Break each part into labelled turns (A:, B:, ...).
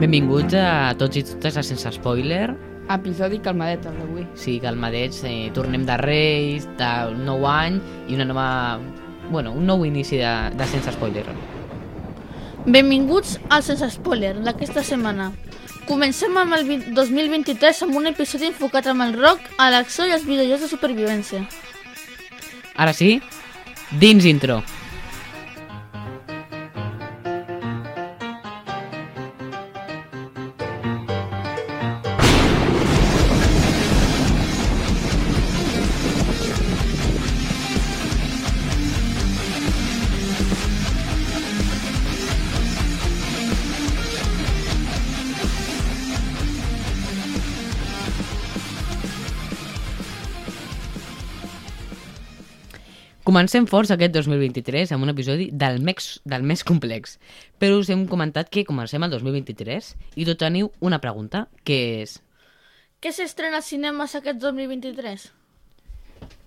A: Benvinguts a tots i totes a Sense Spoiler.
B: Episodi calmadet, el d'avui.
A: Sí, calmadets, eh, tornem de Reis, de nou any i una nova... Bueno, un nou inici de, de Sense Spoiler.
C: Benvinguts al Sense Spoiler d'aquesta setmana. Comencem amb el vi- 2023 amb un episodi enfocat amb el rock, a l'acció i els videojocs de supervivència.
A: Ara sí, dins intro. Comencem forts aquest 2023 amb un episodi del més, del més complex. Però us hem comentat que comencem el 2023 i tot teniu una pregunta, que és...
C: Què s'estrena als cinemes aquest 2023?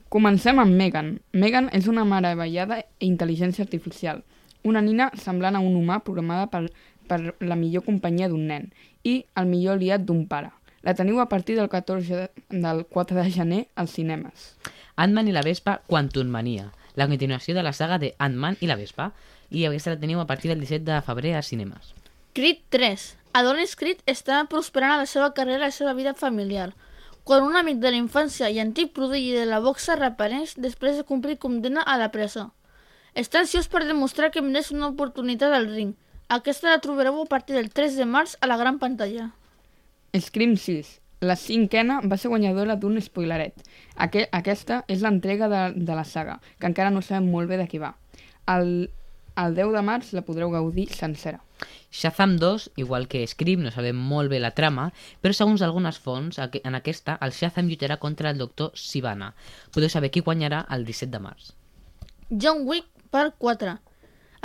B: Comencem amb Megan. Megan és una meravellada intel·ligència artificial. Una nina semblant a un humà programada per, per la millor companyia d'un nen i el millor aliat d'un pare. La teniu a partir del 14 de, del 4 de gener als cinemes.
A: Ant-Man i la Vespa Quantum Mania, la continuació de la saga de Ant-Man i la Vespa, i aquesta la teniu a partir del 17 de febrer a cinemes.
C: Creed 3. Adonis Creed està prosperant a la seva carrera i la seva vida familiar, quan un amic de la infància i antic prodigi de la boxa reapareix després de complir condemna a la presó. Està ansiós per demostrar que mereix una oportunitat al ring. Aquesta la trobareu a partir del 3 de març a la gran pantalla.
B: Scream 6. La cinquena va ser guanyadora d'un spoileret. Aqu aquesta és l'entrega de, de la saga, que encara no sabem molt bé de qui va. El, el 10 de març la podreu gaudir sencera.
A: Shazam 2, igual que Scream, no sabem molt bé la trama, però segons algunes fonts, aqu- en aquesta, el Shazam lluitarà contra el doctor Sivana. Podeu saber qui guanyarà el 17 de març.
C: John Wick Part 4.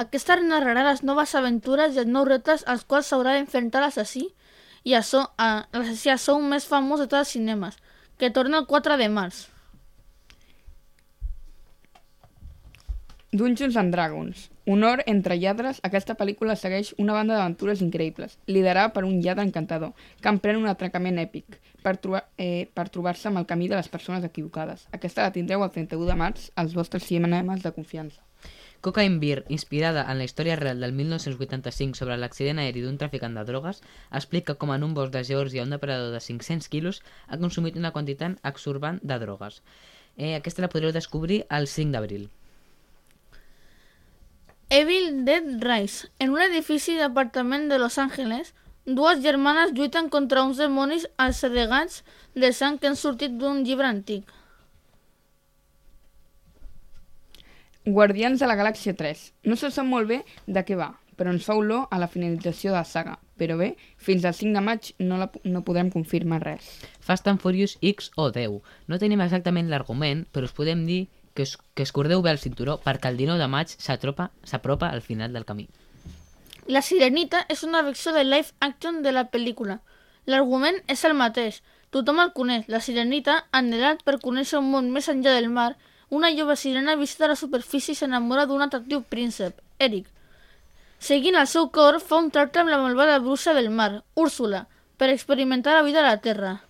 C: Aquesta narrarà les noves aventures i els nous reptes als quals s'haurà d'enfrontar l'assassí i a so, a, l'assassí a sou més famós de tots els cinemes, que torna el 4 de març.
B: Dungeons and Dragons. Honor entre lladres, aquesta pel·lícula segueix una banda d'aventures increïbles, liderada per un lladre encantador, que emprèn un atracament èpic per, trobar, eh, per trobar-se amb el camí de les persones equivocades. Aquesta la tindreu el 31 de març als vostres cinemes de confiança.
A: Cocaine Beer, inspirada en la història real del 1985 sobre l'accident aeri d'un traficant de drogues, explica com en un bosc de Geòrgia un depredador de 500 quilos ha consumit una quantitat exorbant de drogues. Eh, aquesta la podreu descobrir el 5 d'abril.
C: Evil Dead Rise. En un edifici d'apartament de Los Angeles, dues germanes lluiten contra uns demonis assedegats de sang que han sortit d'un llibre antic.
B: Guardians de la Galàxia 3. No se sap molt bé de què va, però ens fa olor a la finalització de la saga. Però bé, fins al 5 de maig no, la, no podrem confirmar res.
A: Fast and Furious X o 10. No tenim exactament l'argument, però us podem dir que, us, que es cordeu bé el cinturó perquè el 19 de maig s'atropa- s'apropa al final del camí.
C: La Sirenita és una versió de live action de la pel·lícula. L'argument és el mateix. Tothom el coneix. La Sirenita, anhelant per conèixer un món més enllà del mar, una jove sirena visita la superfície i s'enamora d'un atractiu príncep, Eric. Seguint el seu cor, fa un tracte amb la malvada bruixa del mar, Úrsula, per experimentar la vida a la Terra.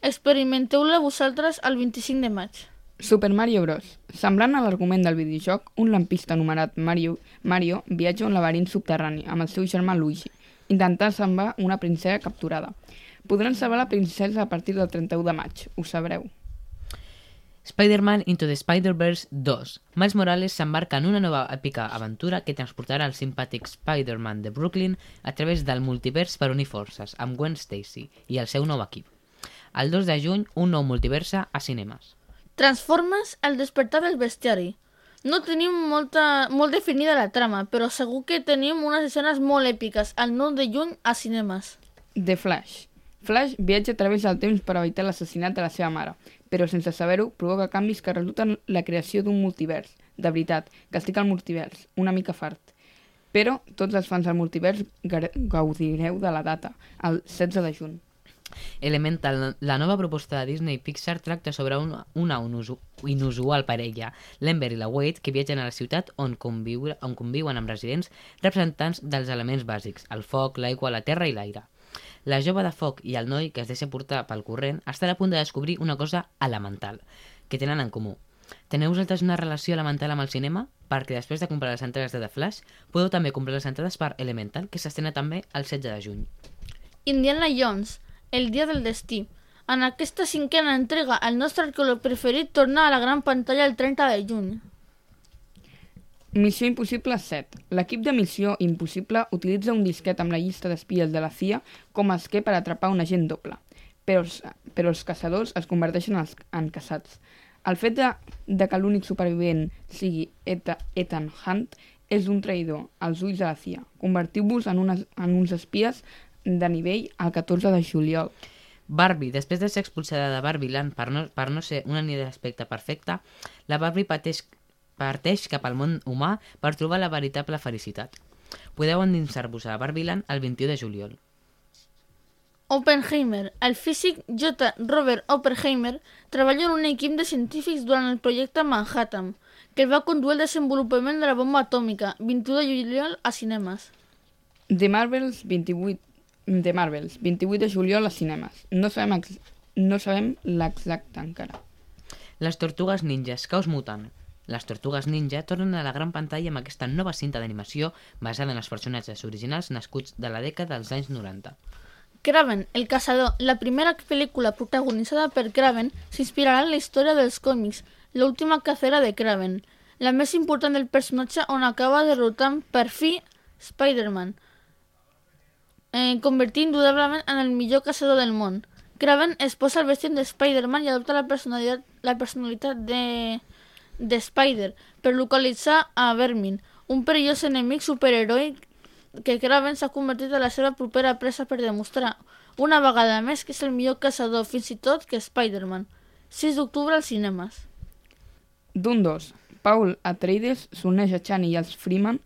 C: Experimenteu-la vosaltres el 25 de maig.
B: Super Mario Bros. Semblant a l'argument del videojoc, un lampista anomenat Mario, Mario viatja a un laberint subterrani amb el seu germà Luigi, intentant salvar una princesa capturada. Podran salvar la princesa a partir del 31 de maig, ho sabreu.
A: Spider-Man Into the Spider-Verse 2. Miles Morales s'embarca en una nova èpica aventura que transportarà el simpàtic Spider-Man de Brooklyn a través del multivers per unir forces amb Gwen Stacy i el seu nou equip. El 2 de juny, un nou multiversa a cinemes.
C: Transformes el despertar del bestiari. No tenim molta, molt definida la trama, però segur que tenim unes escenes molt èpiques el 9 de juny a cinemes.
B: The Flash. Flash viatja a través del temps per evitar l'assassinat de la seva mare, però sense saber-ho provoca canvis que resulten la creació d'un multivers. De veritat, que estic al multivers, una mica fart. Però tots els fans del multivers gar- gaudireu de la data, el 16 de juny.
A: Elemental, la nova proposta de Disney i Pixar tracta sobre una, una inusu- inusual parella, l'Ember i la Wade, que viatgen a la ciutat on, conviure, on conviuen amb residents representants dels elements bàsics, el foc, l'aigua, la terra i l'aire. La jove de foc i el noi que es deixa portar pel corrent estan a punt de descobrir una cosa elemental que tenen en comú. Teneu vosaltres una relació elemental amb el cinema? Perquè després de comprar les entrades de The Flash, podeu també comprar les entrades per Elemental, que s'estrena també el 16 de juny.
C: Indiana Jones, El dia del destí. En aquesta cinquena entrega, el nostre arqueòleg preferit torna a la gran pantalla el 30 de juny.
B: Missió Impossible 7. L'equip de Missió Impossible utilitza un disquet amb la llista d'espies de la CIA com a esquer per atrapar un agent doble, però els, però els caçadors es converteixen als- en caçats. El fet de, de que l'únic supervivent sigui Eta, Ethan Hunt és un traïdor als ulls de la CIA. Convertiu-vos en, unes, en uns espies de nivell el 14 de juliol.
A: Barbie, després de ser expulsada de Barbie Land per no, per no ser una nit d'aspecte perfecta, la Barbie pateix, parteix cap al món humà per trobar la veritable felicitat. Podeu endinsar-vos a Barbie Land el 21 de juliol.
C: Oppenheimer. El físic J. Robert Oppenheimer treballa en un equip de científics durant el projecte Manhattan, que va conduir el desenvolupament de la bomba atòmica, 21 de juliol a cinemes.
B: The Marvels 28 The Marvels, 28 de juliol a cinemes. No sabem, ex- no sabem l'exacte encara.
A: Les tortugues ninjas, que us muten? Les tortugues ninja tornen a la gran pantalla amb aquesta nova cinta d'animació basada en els personatges originals nascuts de la dècada dels anys 90.
C: Kraven, el caçador, la primera película protagonitzada per Kraven, s'inspirarà en la història dels còmics, l'última cacera de Kraven, la més important del personatge on acaba derrotant per fi Spider-Man, eh, convertint indudablement en el millor caçador del món. Kraven es posa el vestit de Spider-Man i adopta la personalitat, la personalitat de, de Spider per localitzar a Vermin, un perillós enemic superheroi que Kraven s'ha convertit en la seva propera presa per demostrar, una vegada més, que és el millor caçador fins i tot que Spider-Man. 6 d'octubre als cinemes.
B: D'un dos, Paul Atreides s'uneix a Chani i als Freeman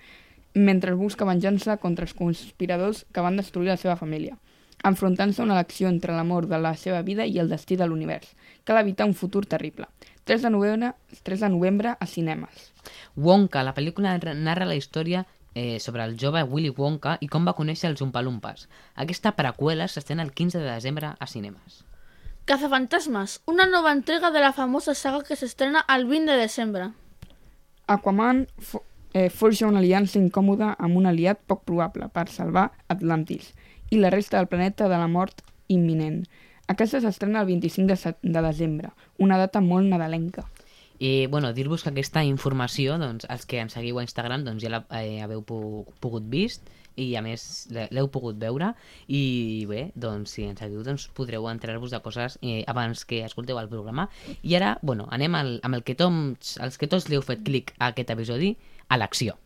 B: mentre busca venjança contra els conspiradors que van destruir la seva família, enfrontant-se a una elecció entre l'amor de la seva vida i el destí de l'univers. Cal evitar un futur terrible. 3 de novembre, 3 de novembre a cinemes.
A: Wonka, la pel·lícula ra- narra la història eh, sobre el jove Willy Wonka i com va conèixer els Umpalumpas. Aquesta preqüela s'estén el 15 de desembre a cinemes.
C: Cazafantasmes, una nova entrega de la famosa saga que s'estrena el 20 de desembre.
B: Aquaman fo eh, forja una aliança incòmoda amb un aliat poc probable per salvar Atlantis i la resta del planeta de la mort imminent. Aquesta s'estrena el 25 de, set- de desembre, una data molt nadalenca.
A: I, bueno, dir-vos que aquesta informació, doncs, els que ens seguiu a Instagram, doncs ja la eh, haveu pu- pogut vist i, a més, l'he- l'heu pogut veure. I, bé, doncs, si ens seguiu, doncs, podreu entrar-vos de coses eh, abans que escolteu el programa. I ara, bueno, anem al, amb el que tots, els que tots li heu fet clic a aquest episodi, a l'acció.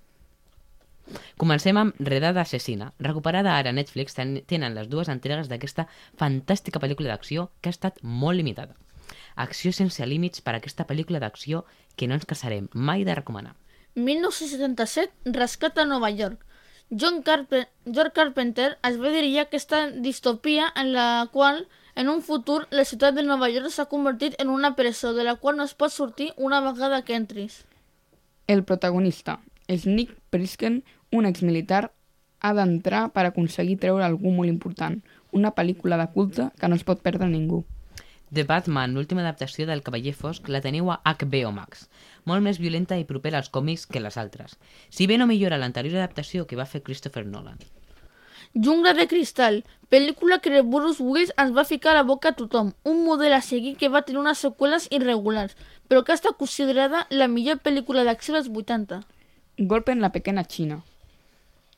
A: Comencem amb Redada Assassina. Recuperada ara a Netflix, ten- tenen les dues entregues d'aquesta fantàstica pel·lícula d'acció que ha estat molt limitada. Acció sense límits per a aquesta pel·lícula d'acció que no ens cansarem mai de recomanar.
C: 1977, Rescat a Nova York. John, Carpe- George Carpenter es va dirigir a aquesta distopia en la qual, en un futur, la ciutat de Nova York s'ha convertit en una presó de la qual no es pot sortir una vegada que entris.
B: El protagonista és Nick Prisken, un exmilitar, ha d'entrar per aconseguir treure algú molt important, una pel·lícula de culte que no es pot perdre ningú.
A: The Batman, l'última adaptació del Cavaller Fosc, la teniu a HBO Max. Molt més violenta i propera als còmics que les altres. Si bé no millora l'anterior adaptació que va fer Christopher Nolan.
C: Jungla de Cristal, pel·lícula que Bruce Willis ens va ficar a la boca a tothom, un model a seguir que va tenir unes seqüeles irregulars, però que està considerada la millor pel·lícula d'acció dels 80.
B: Golpe en la pequeña Xina.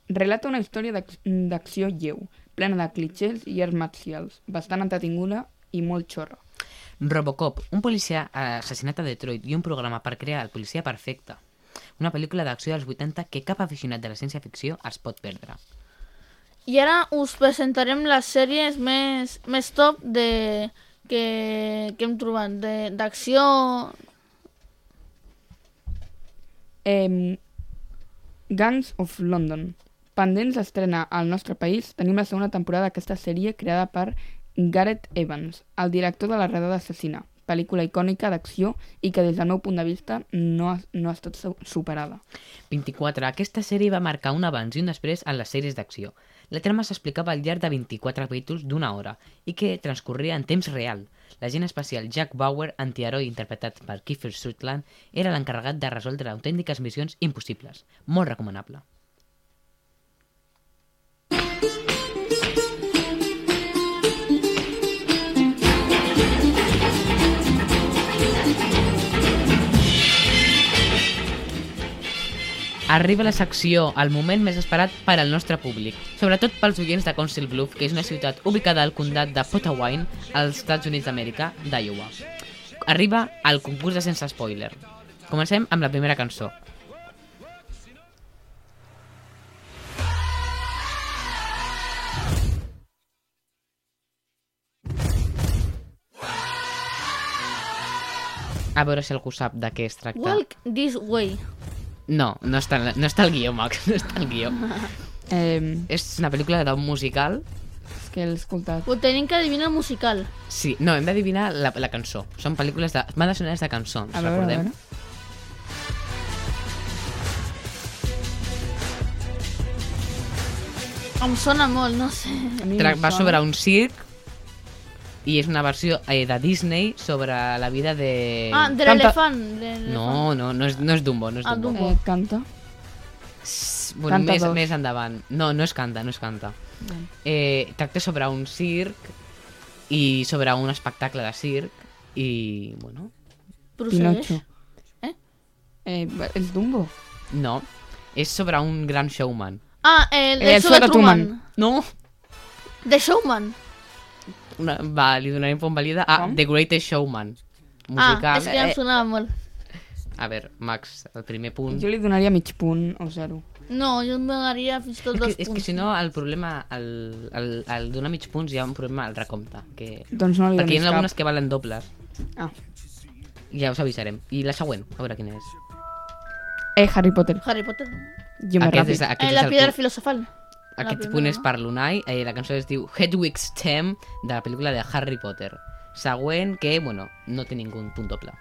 B: Relata una història d'ac- d'acció lleu, plena de clichés i arts marcials, bastant entretinguda i molt xorra.
A: Robocop, un policia eh, assassinat a Detroit i un programa per crear el policia perfecte. Una pel·lícula d'acció dels 80 que cap aficionat de la ciència-ficció es pot perdre.
C: I ara us presentarem les sèries més, més top de, que, que hem trobat, de- d'acció...
B: Em, Gangs of London. Pendents d'estrena al nostre país, tenim la segona temporada d'aquesta sèrie creada per Gareth Evans, el director de la redada assassina, pel·lícula icònica d'acció i que des del meu punt de vista no ha, no ha estat su- superada.
A: 24. Aquesta sèrie va marcar un abans i un després en les sèries d'acció. La trama s'explicava al llarg de 24 capítols d'una hora i que transcorria en temps real. L'agent especial Jack Bauer, antiheroi interpretat per Kiefer Sutherland, era l'encarregat de resoldre autèntiques missions impossibles. Molt recomanable. Arriba la secció, el moment més esperat per al nostre públic, sobretot pels oients de Council Bluff, que és una ciutat ubicada al condat de Potawatomi, als Estats Units d'Amèrica, d'Iowa. Arriba al concurs de sense spoiler. Comencem amb la primera cançó. A veure si algú sap de què es tracta.
C: Walk This Way.
A: No, no està, en la- no està el guió, Max, no està el guió.
B: Eh,
A: És una pel·lícula d'un musical.
B: és que l'he escoltat.
C: Ho tenim que adivinar el musical.
A: Sí, no, hem d'adivinar la, la cançó. Són pel·lícules de... Bandes sonores de cançons,
B: A veure, a
A: recordem.
B: veure.
C: Em sona molt, no sé.
B: A mi
A: Tra
B: em
A: va
B: sona.
A: sobre un circ i és una versió eh, de Disney sobre la vida de...
C: Ah, de
B: canta-
C: l'elefant. de l'elefant.
A: Eh, No, no, no és, no és Dumbo, no és
C: Ah,
A: Dumbo.
C: Dumbo.
B: Eh, canta.
A: S- Bueno,
B: Canta
A: més,
B: dos.
A: més endavant. No, no es canta, no es canta.
B: Bueno.
A: Eh, tracta sobre un circ i sobre un espectacle de circ i, bueno,
C: Procedeix.
B: Pinocho.
C: Eh?
B: Eh, és Dumbo.
A: no. És sobre un gran showman.
C: Ah, el,
B: Eh, el
C: show de
B: Soda Truman.
C: Truman.
A: No,
C: The Showman.
A: Una, va, li donarem punt valida a
B: Com?
A: The Greatest Showman. Musical. eh.
C: Ah, és que ja em sonava molt.
A: A veure, Max, el primer punt...
B: Jo li donaria mig punt o zero.
C: No, jo em donaria fins i tot
A: És
C: dos
A: que, és que
C: punts.
A: si no, el problema, el, el, el donar mig punts hi ha un problema al recompte. Que...
B: Doncs no li
A: Perquè hi ha
B: donis cap.
A: algunes que valen dobles.
B: Ah.
A: Ja us avisarem. I la següent, a veure quina és.
B: Eh, Harry Potter.
C: Harry Potter.
B: Jo més
A: Aquest
B: ràpid.
A: és, aquest
C: Eh,
A: és
C: la
A: el
C: piedra
A: punt,
C: filosofal.
A: aquest
C: primera,
A: punt és
C: no?
A: per l'Unai. Eh, la cançó es diu Hedwig's Theme, de la pel·lícula de Harry Potter. Següent, que, bueno, no té ningú punt doble.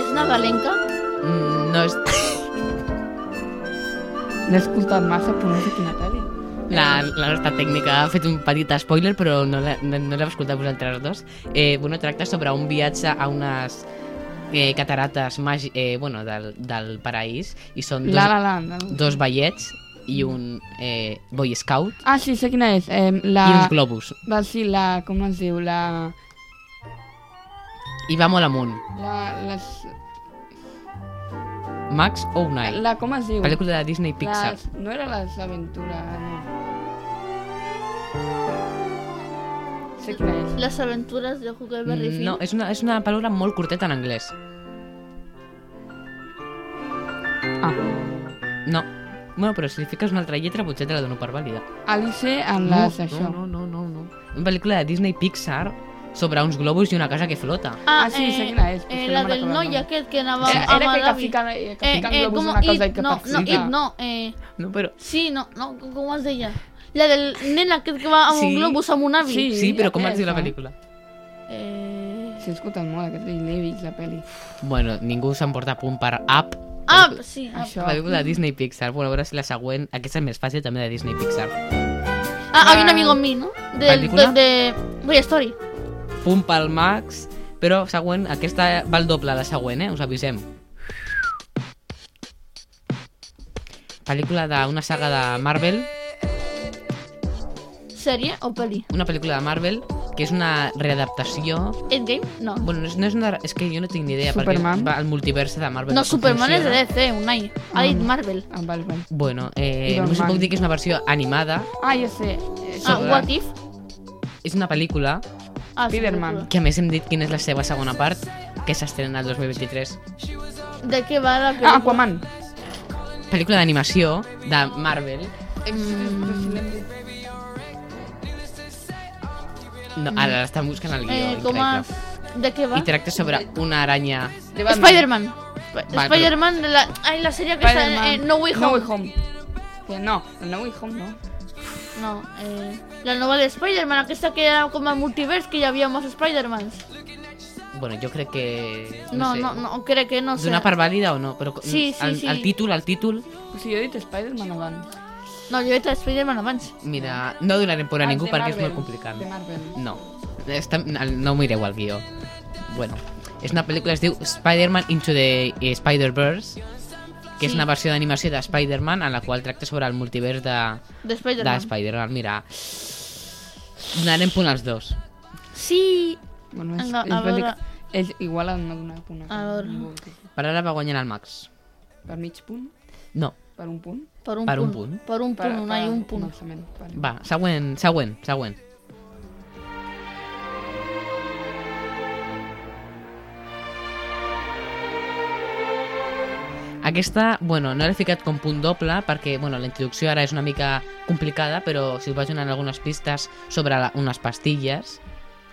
C: És nadalenca.
A: Mm, no és...
B: L'he escoltat massa, però no sé quina pel·li.
A: La, la nostra tècnica ha fet un petit spoiler, però no l'he no, no l'heu escoltat vosaltres dos. Eh, bueno, tracta sobre un viatge a unes eh, catarates magi eh, bueno, del, del paraís i són dos,
B: La La Land. no?
A: dos ballets i un eh, boy scout
B: Ah, sí, sé quina és. Eh, la...
A: i uns globus.
B: Va, sí, la... Com es diu? La...
A: I va molt amunt.
B: La... Les...
A: Max o Unai.
B: La... Com es diu?
A: Pel·lícula de Disney Pixar.
B: Les... No era les aventures, no. Sé quina és.
C: Les aventures de Huckleberry
A: Mm,
C: Finn.
A: No, és una, és una paraula molt curteta en anglès.
B: Ah.
A: No. Bueno, però si li fiques una altra lletra potser te la dono per vàlida.
B: Alice en les...
A: no,
B: això.
A: No, no, no, no. Una pel·lícula de Disney Pixar sobre uns globus i una casa que flota.
C: Ah,
B: Ah, sí, sé
C: eh,
B: quina és, però
C: eh,
B: és que
C: la
B: no me'n
C: del
B: recordo el
C: noi
B: nom.
C: aquest que anava
B: Eh, Era,
C: a
B: era que
C: Malawi.
B: fican, eh, que
C: Eh,
B: fican
C: eh,
B: globus
C: com
B: en una cosa
C: It,
B: i que
C: no, no,
B: persiguin.
C: It, no, eh,
A: No, però...
C: sí, no, no, com es deia? La del nen aquest que va amb un
A: Sí.
C: globus amb un avi.
A: Sí,
B: Sí,
A: sí però com es diu la
B: aquesta.
A: pel·lícula?
C: Eh...
B: S'ha escoltat molt aquest Disney Levis, la pel·li.
A: Bueno, ningú s'emporta punt per Up.
C: Ah, sí, ah,
B: Això.
A: Pel·lícula de Disney Pixar. Bueno, a veure si la següent... Aquesta és més fàcil, també de Disney Pixar.
C: Ah, había un amigo mío, ¿no? Del,
A: ¿Película?
C: de, de Toy Story.
A: Punt pel Max. Però següent, aquesta val doble la següent, eh? Us avisem. Pel·lícula d'una saga de Marvel.
C: ¿Serie o peli?
A: Una pel·lícula de Marvel que és una readaptació
C: ¿Endgame? No.
A: Bueno, no és, no és una... És que jo no tinc ni idea,
B: Superman?
A: perquè va al multiverse de Marvel.
C: No,
A: com
C: Superman es de
A: funciona.
C: DC, Unai. Ha dit
B: Ah.
C: Marvel.
B: Ah, val, val.
A: Bueno, eh,
B: I
A: només us
B: Batman.
A: puc dir que és una versió animada.
B: Ah, ja sé. Eh,
C: Ah,
A: Sobre-
C: What If?
A: És una pel·lícula
C: Ah, sí,
B: Spider-Man.
C: película.
A: que, a més, hem dit quina és la seva segona part, que s'estrena el 2023.
C: ¿De qué va la película?
B: Ah, Aquaman.
A: Pel·lícula d'animació de Marvel.
B: Mm,
A: No, ara l'estan buscant al guió.
C: Eh,
A: increïble.
C: com a... ¿De qué va?
A: I tracta sobre una aranya...
B: De Batman.
C: Spider-Man. Sp-
A: Va,
C: Spider-Man de la... Ay, la serie que está en
B: Spider-Man.
C: eh, No Way Home.
B: No Way Home. Que no, el No Way Home no.
C: No, eh, la nova de Spider-Man, aquesta que era com a multivers, que hi havia molts Spider-Mans.
A: Bueno, jo crec que...
C: No, no,
A: sé,
C: no, no, crec que no sé.
A: Donar per vàlida o no, però co-
C: Sí, sí,
A: el,
C: sí.
A: el títol, el títol...
B: O sigui, jo he dit Spider-Man abans.
C: No, jo he dit Spider-Man abans.
A: Mira, no donarem por a
B: Ah,
A: ningú
B: de
A: perquè és molt
B: Marvel,
A: complicat.
B: de Marvel.
A: No, està, no mireu el guió. Bueno, és una pel·lícula que es diu Spider-Man Into the eh, Spider-Verse, que és
C: Sí.
A: una versió d'animació de Spider-Man en la qual tracta sobre el multivers de,
C: De
A: de
C: Spider-Man.
A: Spider-Man. Mira, donarem punt als dos.
C: sí,
B: Bueno, és,
C: No,
B: és
C: a
B: veritat
C: veure-
B: que és igual a no donar punt.
C: A veure.
B: ningú.
A: Per ara va guanyant el Max.
B: Per mig punt?
A: No,
B: Per un punt?
C: per un,
A: Per un
C: punt.
A: punt.
C: Per un
B: Per,
C: punt, un
B: per
C: any, un punt.
B: Començament. Vale.
A: va, següent, següent, següent. Aquesta, bueno, no l'he ficat com punt doble perquè, bueno, la introducció ara és una mica complicada, però si us vaig donant algunes pistes sobre la, unes pastilles...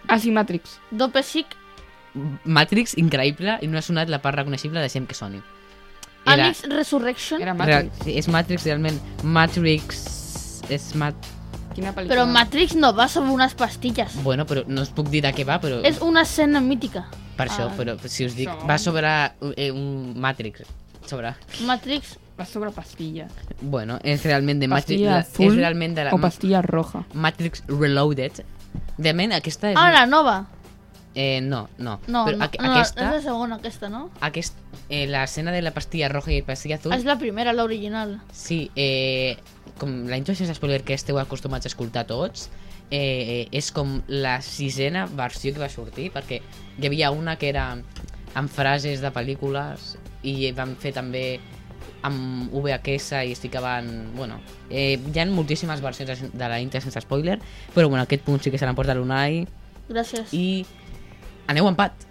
B: Ah, sí, Matrix.
C: Dope Sick,
A: Matrix, increïble, i no ha sonat la part reconeixible de Sam que soni.
C: Alex Resurrection,
B: Era
A: real,
B: Matrix.
A: sí, és Matrix, realment. Matrix... És Mat...
B: Quina pel·lícula?
C: però Matrix no va sobre unes pastilles.
A: Bueno, però no us puc dir de què va, però...
C: És una escena mítica.
A: Per això,
C: Ah.
A: però si us dic,
B: Això.
A: va sobre eh, un Matrix. Sobre...
C: Matrix,
B: Va sobre pastillas.
A: Bueno, és realment de Matrix...
B: Pastilla
A: la-
B: azul
A: és realment de la
B: o pastilla roja.
A: Matrix Reloaded. De ment, aquesta és...
C: ah, la nova.
A: Eh, no, no.
C: No,
A: però
C: no,
A: aqu-
C: no,
A: aquesta...
C: és la segona, aquesta, no?
A: Aquest, eh, la escena de la pastilla roja i pastilla azul...
C: És la primera, l'original.
A: Sí, eh, com la intro sense spoiler que esteu acostumats a escoltar tots, eh, eh, és com la sisena versió que va sortir, perquè hi havia una que era amb frases de pel·lícules i van fer també amb VHS i es ficaven... Bueno, eh, hi ha moltíssimes versions de- de la intro sense spoiler, però bueno, aquest punt sí que se l'emporta l'Unai
C: Gràcies.
A: i aneu a empat.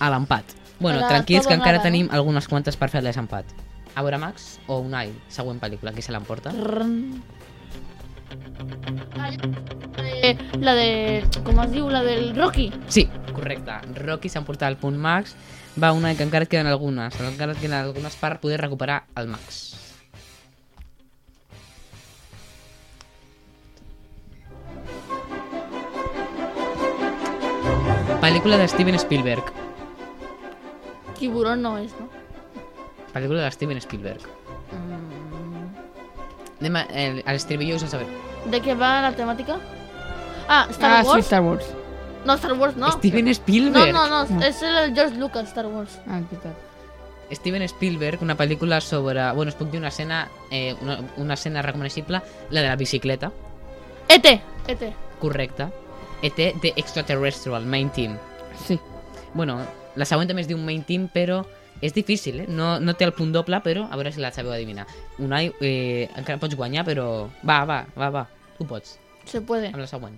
A: A l'empat. Bueno,
C: Ara,
A: tranquils,
C: tot
A: que encara
C: amada,
A: tenim algunes quantes per fer el desempat. A veure, Max, o Unai, següent pel·lícula, qui se l'emporta?
C: Trrrn. Ah, eh, La de... Com es diu? La del Rocky.
A: Sí, correcte. Rocky s'ha emportat el punt Max. Va, Unai, que encara et queden algunes. Encara et queden algunes per poder recuperar el Max. Pel·lícula de Steven Spielberg.
C: Tiburón no és, no?
A: Pel·lícula de Steven Spielberg.
C: Mm.
A: Anem a, el, a l'estribillo us en saber.
C: De què va la temàtica? Ah, Star
B: ah, sí, Ah.
C: Wars?
B: Star Wars.
C: No, Star Wars no.
A: Steven
C: No,
A: Spielberg!
C: no, no,
B: No.
C: és el George Lucas, Star Wars.
B: Ah, és veritat.
A: Steven Spielberg, una pel·lícula sobre... Bueno, us puc dir una escena, eh, una, una escena reconeixible, la de la bicicleta,
C: E.T. E.T.
A: correcta. ET de Extraterrestrial, Main Team.
B: Sí.
A: Bueno, la següent també es diu Main Team, però és difícil, eh? No, no té el punt doble, però a veure si la sabeu adivinar. Unai, eh, encara pots guanyar, però... Va, va, va, va. Tu pots, eh,
C: Se puede.
A: amb la següent.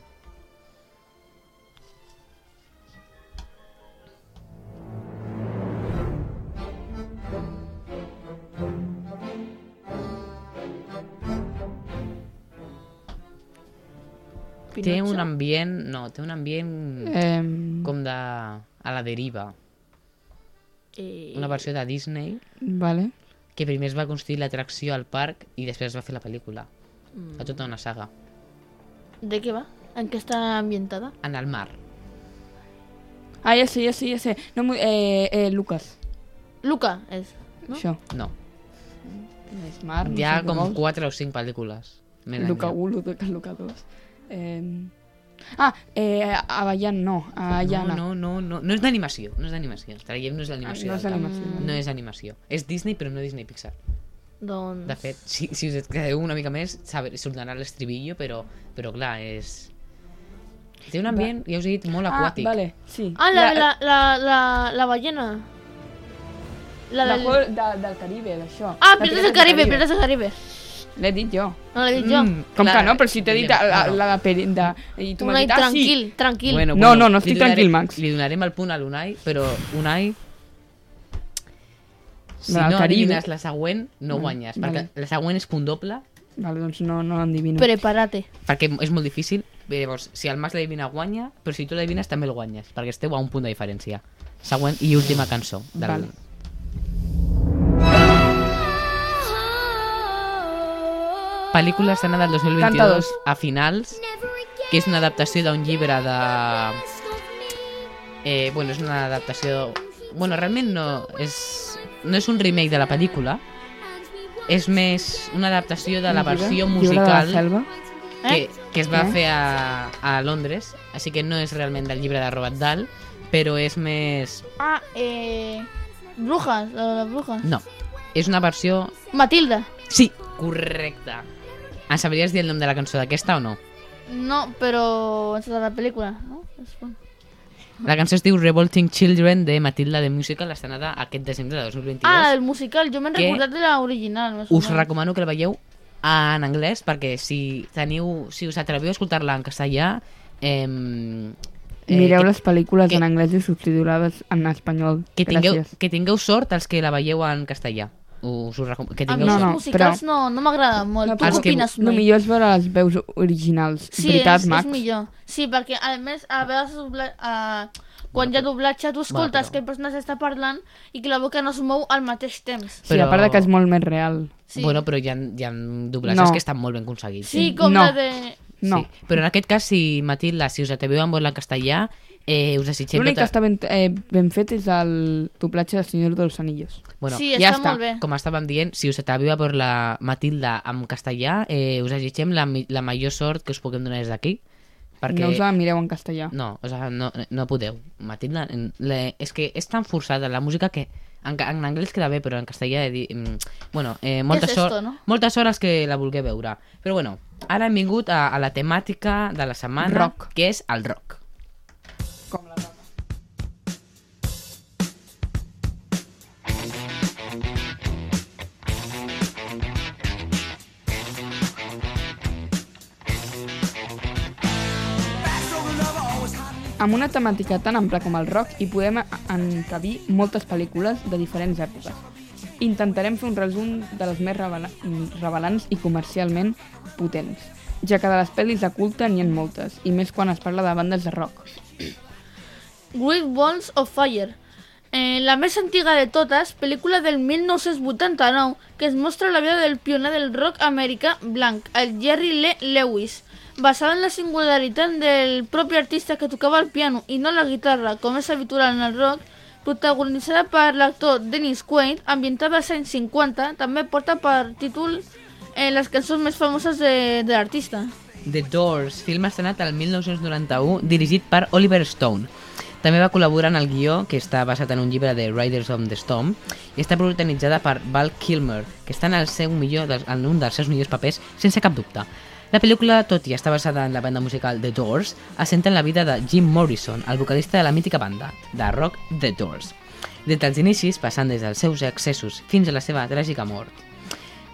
A: Té un ambient... No, té un ambient
B: Eh,
A: com de... a la deriva.
C: Eh,
A: Una versió de Disney
B: Vale.
A: que primer es va construir l'atracció al parc i després es va fer la pel·lícula.
B: Mm.
A: A tota una saga.
C: De què va? En què està ambientada?
A: En el mar.
B: Ah, ja sé, ja sé, ja sé. No, m'ho- eh, eh, Lucas.
C: Luca és, no?
B: Això.
A: No.
B: Smart, Ah, no
A: Hi ha
B: sé què
A: com
B: vols.
A: 4 o 5 pel·lícules. més
B: Luca
A: enllà.
B: 1, Luca, Luca 2. Eh... Ah, eh, Avallan no, Avallana.
A: No, no, no, no, no és d'animació, no és d'animació. Traiem-nos l'animació.
B: no és
A: del cap.
B: animació.
A: No és animació. És Disney, però no Disney Pixar.
C: Doncs...
A: De fet, si, si us quedeu una mica més, saber, sortirà l'estribillo, però, però clar, és... Té un ambient, ja us he dit, molt
B: Ah,
A: aquàtic.
B: vale, sí.
C: Ah, la, la, la, la, la ballena. La
B: La
C: del...
B: juego de- del Caribe, d'això.
C: Ah,
B: La
C: Pirates del Caribe, Pirates del Caribe.
B: L'he dit jo.
C: No l'he
A: Mm,
C: dit jo.
B: Com
A: clar,
B: que no? Però si t'he dit la, la,
A: bueno.
B: la de... peri- de I tu m'has
C: Unai,
B: dit, ah,
C: tranquil,
B: sí.
C: tranquil.
A: Bueno,
B: No,
A: bueno,
B: no,
A: li
B: no estic tranquil,
A: donaré-
B: Max.
A: Li donarem el punt a l'Unai, però Unai... Si
B: La del
A: no
B: Caribe.
A: adivines la següent, no
B: Mm,
A: guanyes,
B: vale.
A: perquè la següent és punt doble,
B: Vale, doncs no, no l'endivino.
C: Prepárate.
A: perquè és molt difícil. Bé, Llavors, si el Max l'adivina guanya, però si tu l'adivines també el guanyes, perquè esteu a un punt de diferència. Següent i última cançó. Del...
B: Vale.
A: pel·lícula estrenada el 2022
B: Canta dos.
A: a finals, que és una adaptació d'un llibre de... Eh, bueno, és una adaptació... Bueno, realment no és, no és un remake de la pel·lícula, és més una adaptació de la versió musical
B: selva?
A: que, que es va
B: Eh?
A: fer a, a Londres, així que no és realment del llibre de Robert Dahl, però és més...
C: Ah, eh... Brujas, la de les brujas.
A: No, és una versió...
C: Matilda.
A: Sí, correcte. Em sabries dir el nom de la cançó d'aquesta o no?
C: No, però és de la pel·lícula, no? És bon.
A: La cançó es diu Revolting Children de Matilda de Musical, estrenada aquest desembre de 2022.
C: Ah, el musical. Jo m'he
A: Que-
C: recordat de l'original. més o
A: Us
C: menys.
A: recomano que la veieu en anglès perquè si teniu, si us atreviu a escoltar-la en castellà, em, eh,
B: Mireu
A: que,
B: les pel·lícules
A: que-
B: en anglès i subtitulades en espanyol.
A: que, tingueu,
B: Gràcies.
A: que tingueu sort els que la veieu en castellà. Us ho recom- que
C: A mi
A: tingueu
B: Ah, no,
C: els
A: sort.
B: no,
C: musicals
B: però-
C: no, no m'agraden molt.
B: No,
C: Tu
A: però-
C: què opines,
B: El
C: Unai?
B: millor és veure les veus originals.
C: Sí,
B: Veritat,
C: és,
B: Max?
C: és millor. Sí, perquè a més a vegades dobla, uh, quan hi ha doblatge tu escoltes
A: però-
C: que el personatge està parlant i que la boca no es mou al mateix temps.
B: Sí, a
A: Però-
B: part de que és molt més real.
C: Sí,
A: Bueno, però hi ha, hi ha doblatges
B: No.
A: que estan molt ben aconseguits.
C: sí com
B: No.
C: la de...
B: No.
A: Sí. Però en aquest cas, si Matilda, si us atreveu a veure en castellà, eh, us desitgem...
B: L'únic
A: tota-
B: que està ben, eh, ben fet és el doblatge de Senyor dels Anillos.
A: Bueno,
C: sí,
B: ja
C: està,
B: està.
C: molt bé.
A: com estàvem dient, si us atreviu a veure la Matilda en castellà, eh, us desitgem la, mi- la major sort que us puguem donar des d'aquí. Perquè...
B: No us la mireu en castellà.
A: No, o sea, no, no podeu. Matilda, en- le, és que és tan forçada la música que en, ca- en anglès queda bé, però en castellà... he dit, mm, bueno, eh, molta,
C: és
A: sort,
C: esto, no?
A: moltes hores que la vulgueu veure. Però bueno, ara hem vingut a, a la temàtica de la setmana,
B: Rock.
A: que és el rock.
B: Com la Amb una temàtica tan ampla com el rock hi podem encabir moltes pel·lícules de diferents èpoques. Intentarem fer un resum de les més revela- revelants i comercialment potents, ja que de les pel·lis de culte n'hi ha moltes, i més quan es parla de bandes de rock.
C: Great Balls of Fire. Eh, la més antiga de totes, pel·lícula del 1989, que es mostra la vida del pioner del rock americà blanc, el Jerry Lee Lewis, basada en la singularitat del propi artista que tocava el piano i no la guitarra, com és habitual en el rock, protagonitzada per l'actor Dennis Quaid, ambientada als anys 50, també porta per títol eh, les cançons més famoses de, de l'artista.
A: The Doors, film estrenat el 1991, dirigit per Oliver Stone. També va col·laborar en el guió, que està basat en un llibre de Riders on the Storm, i està protagonitzada per Val Kilmer, que està en, el seu millor, dels- en un dels seus millors papers, sense cap dubte. La pel·lícula, tot i estar basada en la banda musical The Doors, assenta en la vida de Jim Morrison, el vocalista de la mítica banda de rock The Doors, des dels inicis, passant des dels seus excessos fins a la seva tràgica mort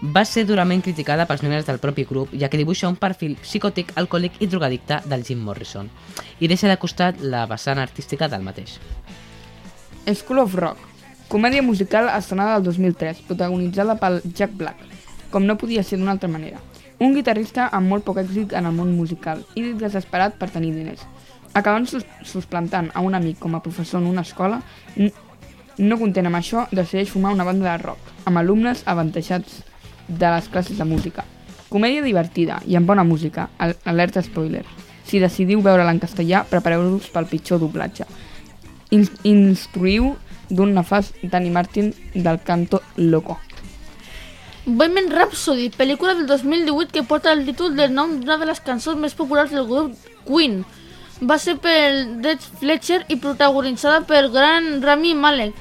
A: va ser durament criticada pels membres del propi grup, ja que dibuixa un perfil psicòtic, alcohòlic i drogadicte del Jim Morrison, i deixa de costat la vessant artística del mateix.
B: School of Rock, comèdia musical estrenada del 2003, protagonitzada pel Jack Black, com no podia ser d'una altra manera. Un guitarrista amb molt poc èxit en el món musical i desesperat per tenir diners. Acabant sus susplantant a un amic com a professor en una escola, n- no content amb això, decideix formar una banda de rock, amb alumnes avantatjats de les classes de música. Comèdia divertida i amb bona música, al- alerta spoiler. Si decidiu veure-la en castellà, prepareu-vos pel pitjor doblatge, in instruïu d'un nefast Danny Martin del canto Loco.
C: Bohemian Rhapsody, pel·lícula del 2018 que porta el títol del nom d'una de les cançons més populars del grup Queen. Va ser per Dead Fletcher i protagonitzada per gran Rami Malek,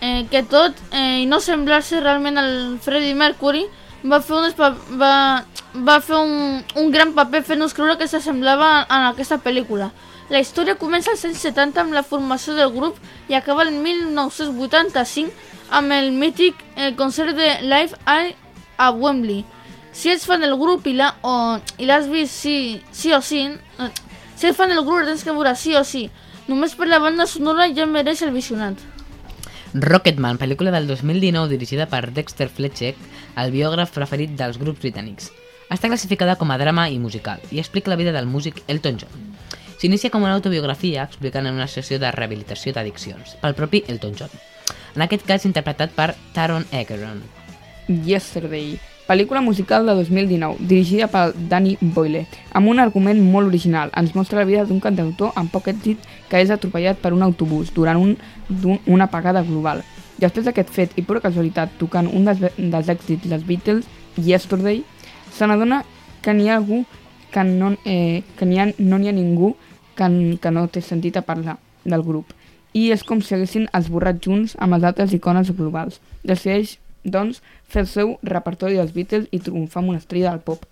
C: eh, que tot eh, i no semblar-se realment al Freddie Mercury, va fer, un, va, va fer un, un gran paper fent-nos creure que s'assemblava en aquesta pel·lícula. La història comença als anys 70 amb la formació del grup i acaba el 1985 amb el mític eh, concert de Live Aid a Wembley. Si ets fan del grup i la- o- i l'has vist sí, sí o sí, eh, si ets fan del grup la tens que veure sí o sí. Només per la banda sonora ja mereix el visionat.
A: Rocketman, pel·lícula del 2019 dirigida per Dexter Fletcher, el biògraf preferit dels grups britànics. Està classificada com a drama i musical i explica la vida del músic Elton John. S'inicia com una autobiografia explicant en una sessió de rehabilitació d'addiccions pel propi Elton John. En aquest cas interpretat per Taron Egerton.
B: Yesterday. pel·lícula musical de 2019, dirigida per Danny Boyle, amb un argument molt original. Ens mostra la vida d'un cantautor amb poc èxit que és atropellat per un autobús durant un, d'un, una apagada global. Després d'aquest fet i pura casualitat, tocant un dels, dels èxits dels Beatles, Yesterday, se n'adona que n'hi ha algú que no eh, que n'hi ha, no n'hi ha ningú que, n- que no té sentit a parlar del grup. I és com si haguessin esborrat junts amb els altres icones globals. Decideix, doncs, fer el seu repertori dels Beatles i triomfar amb una estrella del pop.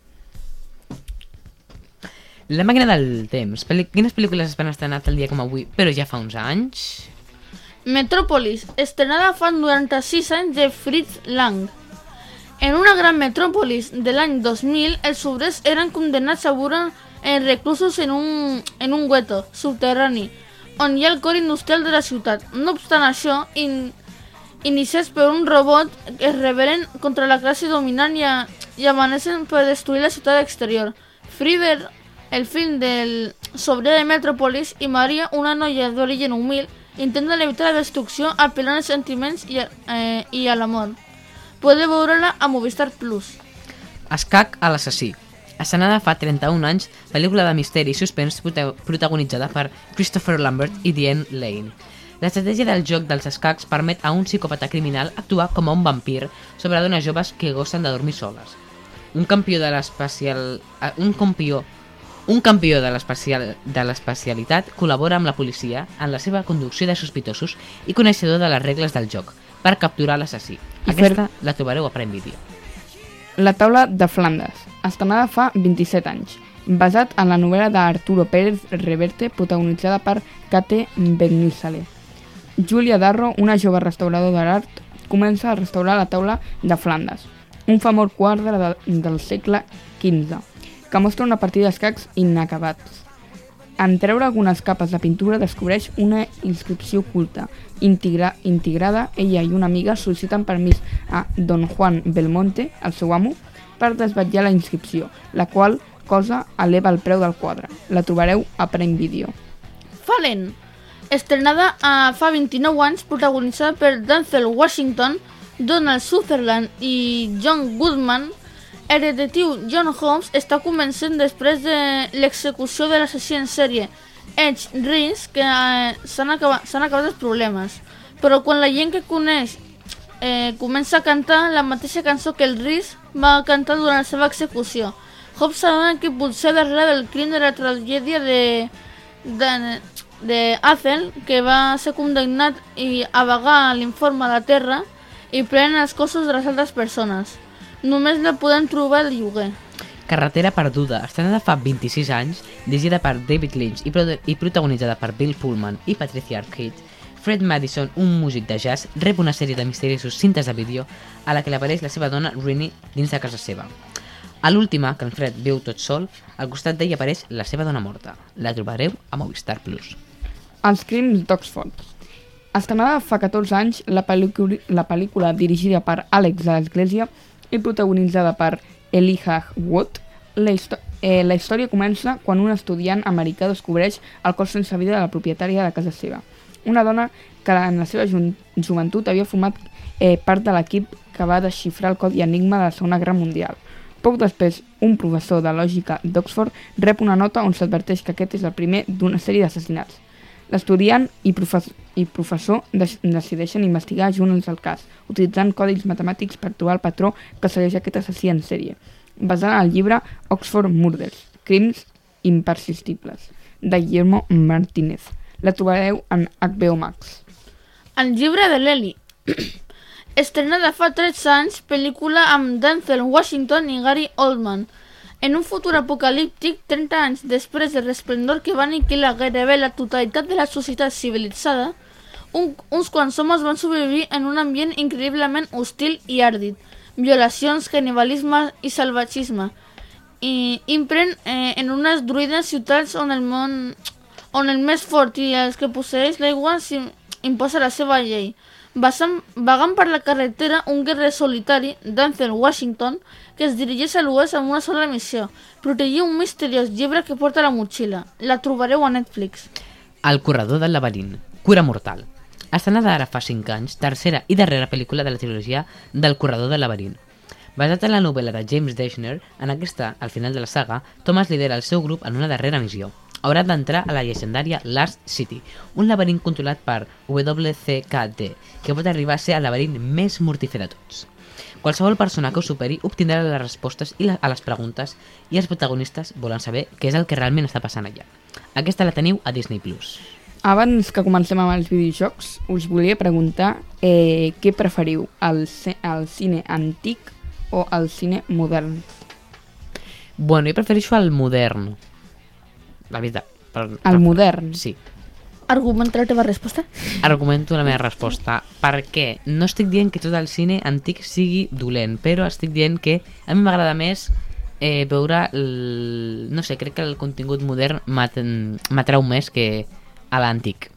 A: La màquina del temps. Pel- Quines pel·lícules es van estrenar tal dia com avui, però ja fa uns anys?
C: Metrópolis, estrenada fa 96 anys de Fritz Lang. En una gran metrópolis de l'any 2000, els obrers eren condemnats a viure en reclusos en un, en un gueto subterrani, on hi ha el cor industrial de la ciutat. No obstant això, in, iniciats per un robot que es rebel·len contra la classe dominant i, a, i amaneixen per destruir la ciutat exterior. Freebird, el film del sobre de Metropolis, i Maria, una noia d'origen humil, intenten evitar la destrucció apel·lant als sentiments i, a- eh, i a l'amor. Podeu veure-la a Movistar Plus.
A: Escac a l'assassí. Estrenada fa 31 anys, pel·lícula de misteri i suspens prota- protagonitzada per Christopher Lambert i Diane Lane. L'estratègia del joc dels escacs permet a un psicòpata criminal actuar com a un vampir sobre dones joves que gossen de dormir soles. Un campió de l'especial... eh, Un campió un campió de l'espacial- de l'especialitat col·labora amb la policia en la seva conducció de sospitosos i coneixedor de les regles del joc per capturar l'assassí.
B: I fer-
A: Aquesta la trobareu a Prime Video.
B: La taula de Flandes, estrenada fa 27 anys, basat en la novel·la d'Arturo Pérez Reverte, protagonitzada per Kate Benizale. Julia Darro, una jove restauradora d'art, comença a restaurar la taula de Flandes, un famós quadre de, del segle XV, que mostra una partida d'escacs inacabats. En treure algunes capes de pintura descobreix una inscripció oculta. Integra integrada, ella i una amiga sol·liciten permís a Don Juan Belmonte, el seu amo, per desvetllar la inscripció, la qual cosa eleva el preu del quadre. La trobareu a Prime Video.
C: Fallen, estrenada a fa 29 anys, protagonitzada per Denzel Washington, Donald Sutherland i John Goodman, el detectiu John Holmes està convencent després de l'execució de l'assassí en sèrie Edge Rins que eh, s'han acaba- s'han acabat els problemes. Però quan la gent que coneix eh, comença a cantar la mateixa cançó que el Rhys va cantar durant la seva execució. Hobbs s'adona que potser darrere del crim de la tragèdia de, de, de Athel, que va ser condemnat i a vagar l'informe a la Terra i pren els cossos de les altres persones. Només la podem trobar al lloguer.
A: Carretera perduda, estrenada fa 26 anys, dirigida per David Lynch i, produ- i protagonitzada per Bill Pullman i Patricia Arquette, Fred Madison, un músic de jazz, rep una sèrie de misteriosos cintes de vídeo a la que li apareix la seva dona Rini dins de casa seva. A l'última, que en Fred viu tot sol, al costat d'ell apareix la seva dona morta. La trobareu a Movistar Plus.
B: Els crims d'Oxford. Estrenada fa 14 anys, la, pel·lícula, la pel·lícula dirigida per Àlex de l'Església i protagonitzada per Elijah Wood, la, histo- eh, la història comença quan un estudiant americà descobreix el cos sense vida de la propietària de casa seva. Una dona que en la seva ju joventut havia format eh, part de l'equip que va desxifrar el codi enigma de la Segona Guerra Mundial. Poc després, un professor de lògica d'Oxford rep una nota on s'adverteix que aquest és el primer d'una sèrie d'assassinats. L'estudiant i, profes i professor dec- decideixen investigar junts el cas, utilitzant codis matemàtics per trobar el patró que segueix aquest assassí en sèrie, basant el llibre Oxford Murders, Crims Impersistibles, de Guillermo Martínez. La trobareu en HBO Max.
C: El llibre de l'Eli. Estrenada fa 13 anys, pel·lícula amb Denzel Washington i Gary Oldman. En un futur apocalíptic, 30 anys després del resplendor que va aniquilar gairebé la totalitat de la societat civilitzada, un, uns quants homes van sobrevivir en un ambient increïblement hostil i àrdid. Violacions, canibalisme i salvatgisme. I impren eh, en unes druides ciutats on el món on el més fort i els que posseeix l'aigua s'im- imposa la seva llei. Basant, vagant per la carretera, un guerrer solitari, Denzel Washington, que es dirigeix a l'oest amb una sola missió, protegir un misteriós llibre que porta a la motxilla. La trobareu a Netflix.
A: El corredor del laberint, Cura Mortal. Estrenada ara fa 5 anys, tercera i darrera pel·lícula de la trilogia del corredor del laberint. Basat en la novel·la de James Dashner, en aquesta, al final de la saga, Thomas lidera el seu grup en una darrera missió. Haurà d'entrar a la llegendària Last City, un laberint controlat per WCKD, que pot arribar a ser el laberint més mortífer de tots. Qualsevol persona que ho superi obtindrà les respostes i la, a les preguntes i els protagonistes volen saber què és el que realment està passant allà. Aquesta la teniu a Disney+. Plus.
B: Abans que comencem amb els videojocs, us volia preguntar eh, què preferiu, el, ce- el cine antic o el cine modern?
A: Bueno, jo prefereixo el modern. La veritat. Per,
B: El modern.
A: Ah, Sí.
C: Argumenta la teva resposta.
A: Argumento la meva resposta. Per què? No estic dient que tot el cine antic sigui dolent, però estic dient que a mi m'agrada més eh, veure... El... No sé, crec que el contingut modern m'at- m'atrau més que a l'antic.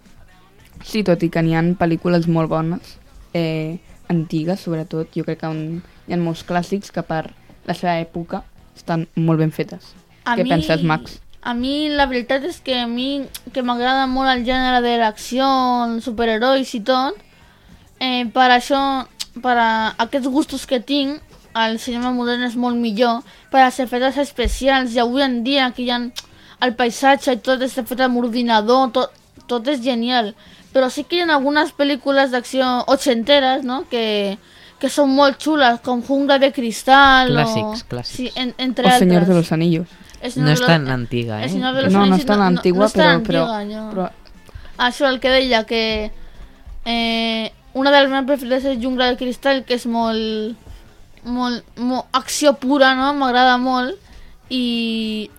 B: Sí, tot i que n'hi ha pel·lícules molt bones, eh, antigues sobretot, jo crec que on hi ha molts clàssics que per la seva època estan molt ben fetes.
C: A
B: Què
C: mi-
B: penses, Max?
C: A mi la veritat és que a mi que m'agrada molt el gènere de l'acció, els superherois i tot, eh, per això, per a aquests gustos que tinc, el cinema modern és molt millor, per a ser fetes especials, i avui en dia que hi ha el paisatge i tot està fet amb ordinador, tot, tot és genial. Però sí que hi ha algunes pel·lícules d'acció ochenteres, no?, que, que són molt xules, com Jungla de Cristal
A: Clàssics,
C: o...
A: clàssics.
C: Sí, en,
B: O
C: entre
B: Senyor
C: altres.
B: de los Anillos.
C: És
A: No
C: una
A: és
C: velo-
A: tan antiga,
C: és
A: eh?
C: una
B: No, no
C: velocidad-
B: és tan antigua,
C: és tan
B: però-
C: antiga, no.
B: Però
C: Això, el que deia, que eh, una de les meves preferides és Jungla de Cristal, que és molt, molt, molt acció pura, no? M'agrada molt. I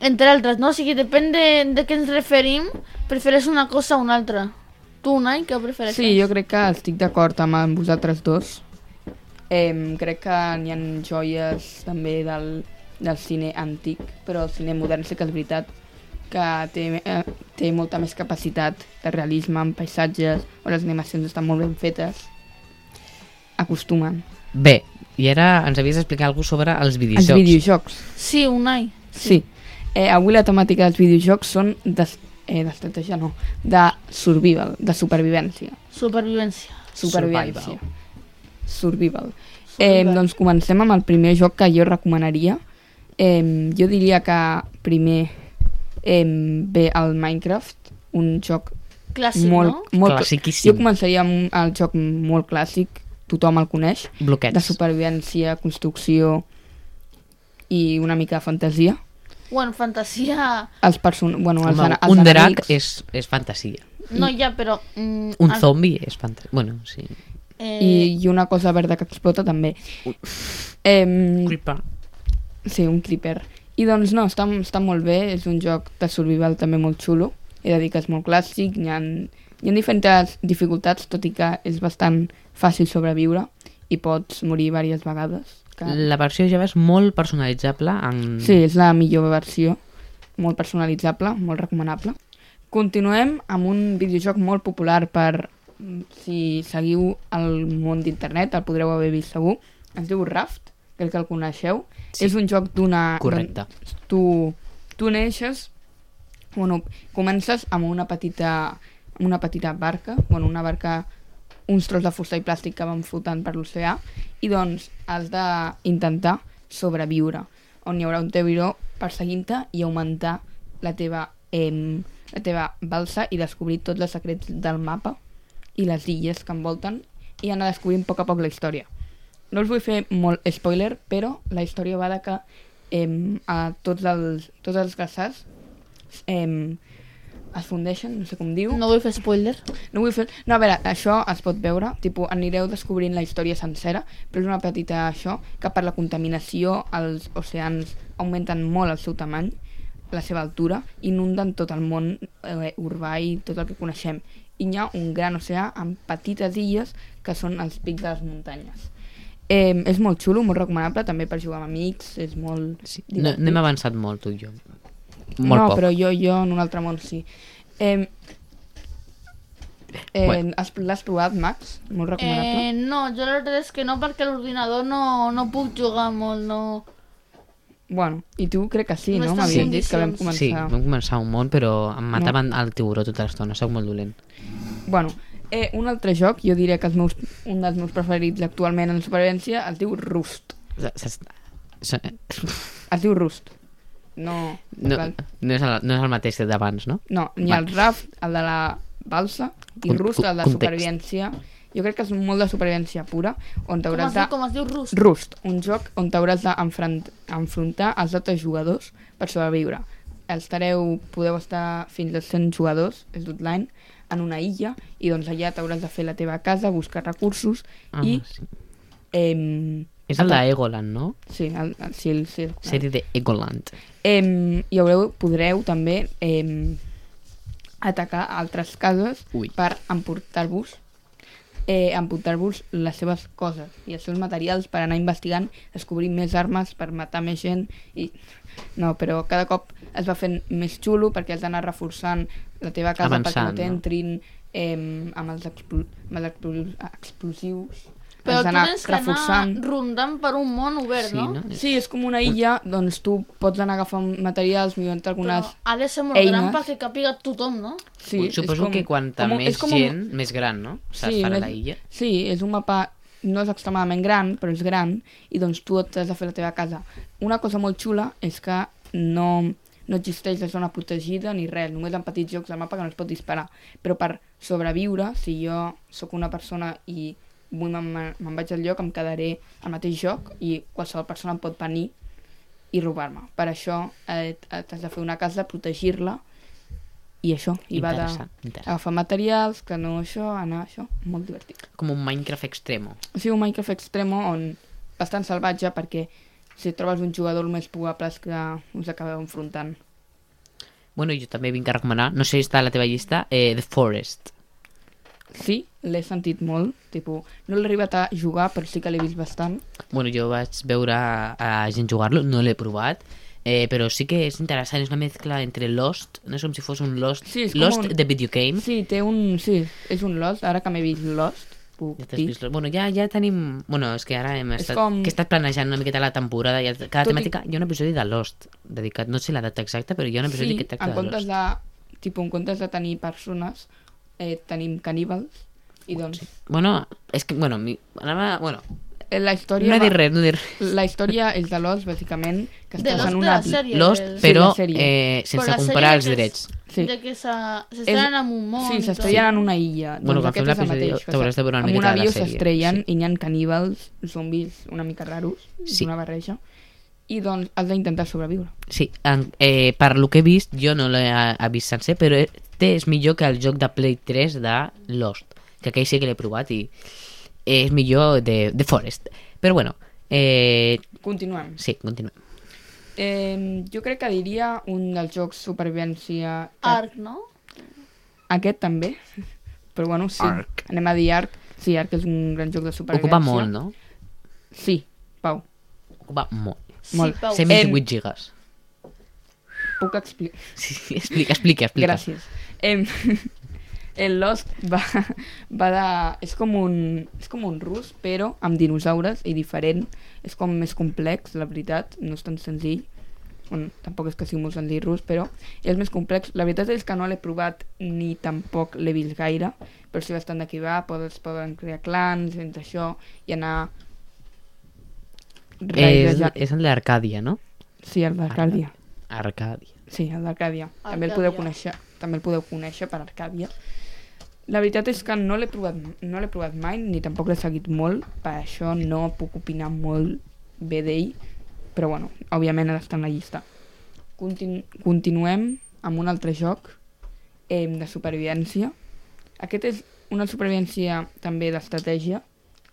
C: entre altres, no? O sigui, depèn de, de què ens referim, prefereix una cosa o una altra. Tu, Nai, què prefereixes?
B: Sí, jo crec que estic d'acord amb- amb vosaltres dos. Eh, crec que n'hi ha joies també del, del cine antic, però el cine modern sí que és veritat que té, eh, té molta més capacitat de realisme en paisatges, on les animacions estan molt ben fetes. Acostumen.
A: Bé, i ara ens havies d'explicar alguna sobre els
B: Els
A: videojocs.
B: videojocs.
C: Sí, un Nai.
B: Sí. Eh, avui la temàtica dels videojocs són d'es- eh, d'estratègia, no, de survival, de supervivència.
C: Supervivència.
B: Supervivència.
A: Survival.
B: Survival. Eh,
C: Survival.
B: doncs comencem amb el primer joc que jo recomanaria. Eh, jo diria que primer eh, ve el Minecraft, un joc
C: Clàssic,
B: molt...
C: no?
B: molt
A: Classiquíssim.
B: Jo començaria amb el joc molt clàssic, tothom el coneix, de
A: Bloquets.
B: supervivència, construcció i una mica de fantasia.
C: Bueno, fantasia...
B: Els person... Bueno, els,
A: Home,
B: ana- els
A: un drac
B: enemics Ah.
A: és, és fantasia.
C: No, ja, però... Mm,
A: Un
C: al-
A: zombi és fantasia. Bueno, sí.
C: eh,
B: I, i una cosa verda que explota també. Eh,
A: Creeper.
B: Sí, un creeper. I doncs no, està, està molt bé, és un joc de survival també molt xulo. He de dir que és molt clàssic, hi ha, hi ha diferents dificultats, tot i que és bastant fàcil sobreviure i pots morir diverses vegades. Que...
A: La versió Java és molt personalitzable en...
B: Sí, és la millor versió, molt personalitzable, molt recomanable. Continuem amb un videojoc molt popular per... Si seguiu el món d'internet, el podreu haver vist segur. Es diu Raft, crec que el coneixeu.
A: Sí.
B: És un joc d'una...
A: correcte.
B: Doncs, tu, tu neixes, bueno, comences amb una petita, amb una petita barca, bueno, una barca, uns tros de fusta i plàstic que van flotant per l'oceà, i doncs has d'intentar sobreviure, on hi haurà un teoiró perseguint-te i augmentar la teva, eh, la teva balsa i descobrir tots els secrets del mapa i les illes que envolten i anar descobrint a poc a poc la història. No us vull fer molt spoiler, però la història va de que em, a tots els, tots els glaçats em, es fundeixen, no sé com diu.
C: No vull fer spoiler.
B: No vull fer... No, a veure, això es pot veure, tipus, anireu descobrint la història sencera, però és una petita això, que per la contaminació els oceans augmenten molt el seu tamany, la seva altura, inunden tot el món eh, urbà i tot el que coneixem. I hi ha un gran oceà amb petites illes que són els pics de les muntanyes. Eh, és molt xulo, molt recomanable, també per jugar amb amics, és molt...
A: Sí. No, n'hem avançat molt, tu i jo. Molt
B: no,
A: poc.
B: però jo, jo en un altre món sí. Eh, eh,
A: Bueno.
B: has- L'has provat, Max? Molt
C: Eh,
B: recomanable.
C: no, jo la veritat és que no perquè a l'ordinador no, no puc jugar molt, no.
B: Bueno, i tu crec que sí,
C: no
B: no?
C: està en
B: M'havies dit que vam
C: condicions.
B: començar...
A: Sí, vam començar un món, però em mataven no. el tiburó tota l'estona, sóc molt dolent.
B: Bueno, eh, un altre joc, jo diria que els meus, un dels meus preferits actualment en supervivència es diu Rust.
A: s- s- s-
B: Es diu Rust. No,
A: No,
B: val.
A: no, és el, no és el mateix que d'abans, no?
B: no ni
A: Va.
B: el Raft, el de la balsa, i
A: Con-
B: Rust, el de
A: context.
B: supervivència. Jo crec que és molt de supervivència pura, on
C: Com es,
B: t'hauràs
C: diu,
B: de...
C: com es diu rus?
B: Rust, un joc on t'hauràs d'enfrontar als altres jugadors per sobreviure. Estareu, podeu estar fins a 100 jugadors, és l'outline, en una illa, i doncs allà t'hauràs de fer la teva casa, buscar recursos,
A: Ah,
B: i...
A: sí.
B: Eh,
A: És el d'Egoland, no?
B: Sí, el, el, sí, el, sí, el,
A: Sèrie de Egoland.
B: Em, I haureu, podreu també em, atacar altres cases
A: Ui.
B: per emportar-vos eh, emportar-vos les seves coses i els seus materials per anar investigant, descobrir més armes per matar més gent i no, però cada cop es va fent més xulo perquè has d'anar reforçant la teva casa perquè
A: Avançant,
B: no
A: no?
B: t'entrin em, amb els, explo amb els explo- explosius has
C: Però tu
B: d'anar
C: tens que anar rondant per un món obert,
A: Sí,
C: no?
A: no?
B: Sí, és com una illa, doncs tu pots anar agafant materials, millorant
C: Però
B: algunes...
C: ha de ser molt
B: eines.
C: gran perquè capiga tothom, no?
B: Sí, és
A: Suposo
B: com-
A: que quanta
B: com un-
A: més
B: és com un-
A: gent, més gran, no? Saps sí, farà
B: més-
A: la illa.
B: Sí, és un mapa no és extremadament gran, però és gran, i doncs tu et has de fer la teva casa. Una cosa molt xula és que no, no existeix la zona protegida ni res, només en petits jocs del mapa que no es pot disparar. Però per sobreviure, si jo sóc una persona i vull me'n me'n vaig al lloc, em quedaré al mateix joc i qualsevol persona em pot venir i robar-me. Per això eh, t'has de fer una casa, protegir-la i això. I va de
A: Interessant, interessant.
B: agafar materials, que no això, anar això, molt divertit.
A: Com un Minecraft extremo.
B: O sigui, un Minecraft extremo on bastant salvatge perquè si trobes un jugador el més probable és que us acabeu enfrontant.
A: Bueno, jo també vinc a recomanar, no sé si està a la teva llista, eh, The Forest.
B: Sí, l'he sentit molt, tipus, no l'he arribat a jugar, però sí que l'he vist bastant.
A: Bueno, jo vaig veure a, a gent jugar-lo, no l'he provat, eh, però sí que és interessant, és una mescla entre Lost, no és com si fos un Lost,
B: Sí, és com
A: Lost
B: un-
A: de videogame.
B: Sí, té un... Sí, és un Lost, ara que m'he vist Lost, puc
A: Ja t'has
B: dir.
A: vist lo- bueno, ja, ja tenim... Bueno, és que ara hem
B: És
A: estat,
B: com-
A: que he estat planejant una miqueta la temporada. I cada
B: Tot i-
A: temàtica... Hi ha un episodi de Lost dedicat... No sé la data exacta, però hi ha un episodi
B: Sí,
A: que tracta
B: en
A: de Lost.
B: comptes de... Tipo, en comptes de tenir persones, eh, tenim caníbals, i doncs
A: Bueno, és que... Bueno, mi... anava... Bueno,
B: eh, la història...
A: no he
B: va-
A: dit res, no he dit res.
B: La història és de Lost, bàsicament, que
C: De
B: estàs
C: Lost
B: en
C: de
B: una...
C: la sèrie.
A: Lost,
C: del-
A: però
B: la sèrie.
A: eh, sense
C: Però la
A: comprar
C: sèrie
A: els
C: que és-
A: drets.
B: Sí.
C: De que se- s'estrenen en un món
B: Sí,
C: i tot.
B: s'estrellen en una illa. Doncs
A: Bueno, quan
B: aquest
A: fem
B: és el
A: l'episodi
B: mateix, que
A: t'hauràs de veure una
B: amb
A: miqueta de
B: un
A: la
B: avió
A: sèrie,
B: s'estrellen i hi ha caníbals, zombis una mica raros,
A: Sí.
B: sí. una barreja, i doncs has d'intentar sobreviure.
A: Sí, en, eh, per lo que he vist, jo no l'he eh, he vist sencer, però este és millor que el joc de Play 3 de Lost, que aquell sí que l'he provat i és millor de, de Forest. Però bueno, eh,
B: Continuem.
A: sí, continuem.
B: Eh, jo crec que diria un dels jocs supervivència... que-
C: Arc, no?
B: Aquest també, però bueno, sí.
A: Ark.
B: Anem a dir Arc. Sí, Arc és un gran joc de supervivència.
A: Ocupa molt, no?
B: Sí, Pau.
A: Ocupa molt.
B: Molt.
C: Sí, Pau.
A: 128
B: Em-
A: gigas.
B: Puc explicar...
A: Sí, sí, explica, explica, explica.
B: Gràcies. Em, el Lost va, va de... És com, un, és com un rus, però amb dinosaures i diferent. És com més complex, la veritat. No és tan senzill. Bueno, tampoc és que sigui molt senzill rus, però és més complex. La veritat és que no l'he provat ni tampoc l'he vist gaire, però sí bastant de qui va. Podes, poden crear clans, entre això, i anar...
A: És,
B: raidejant-
A: és el d'Arcàdia, no?
B: Sí, el d'Arcàdia.
A: Arcàdia.
B: Sí, el d'Arcàdia. També el podeu
C: Arcàdia.
B: conèixer, també el podeu conèixer per Arcàdia. La veritat és que no l'he provat, no l'he provat mai, ni tampoc l'he seguit molt, per això no puc opinar molt bé d'ell, però bueno, òbviament ara està en la llista. Contin continuem amb un altre joc eh, de supervivència. Aquest és una supervivència també d'estratègia,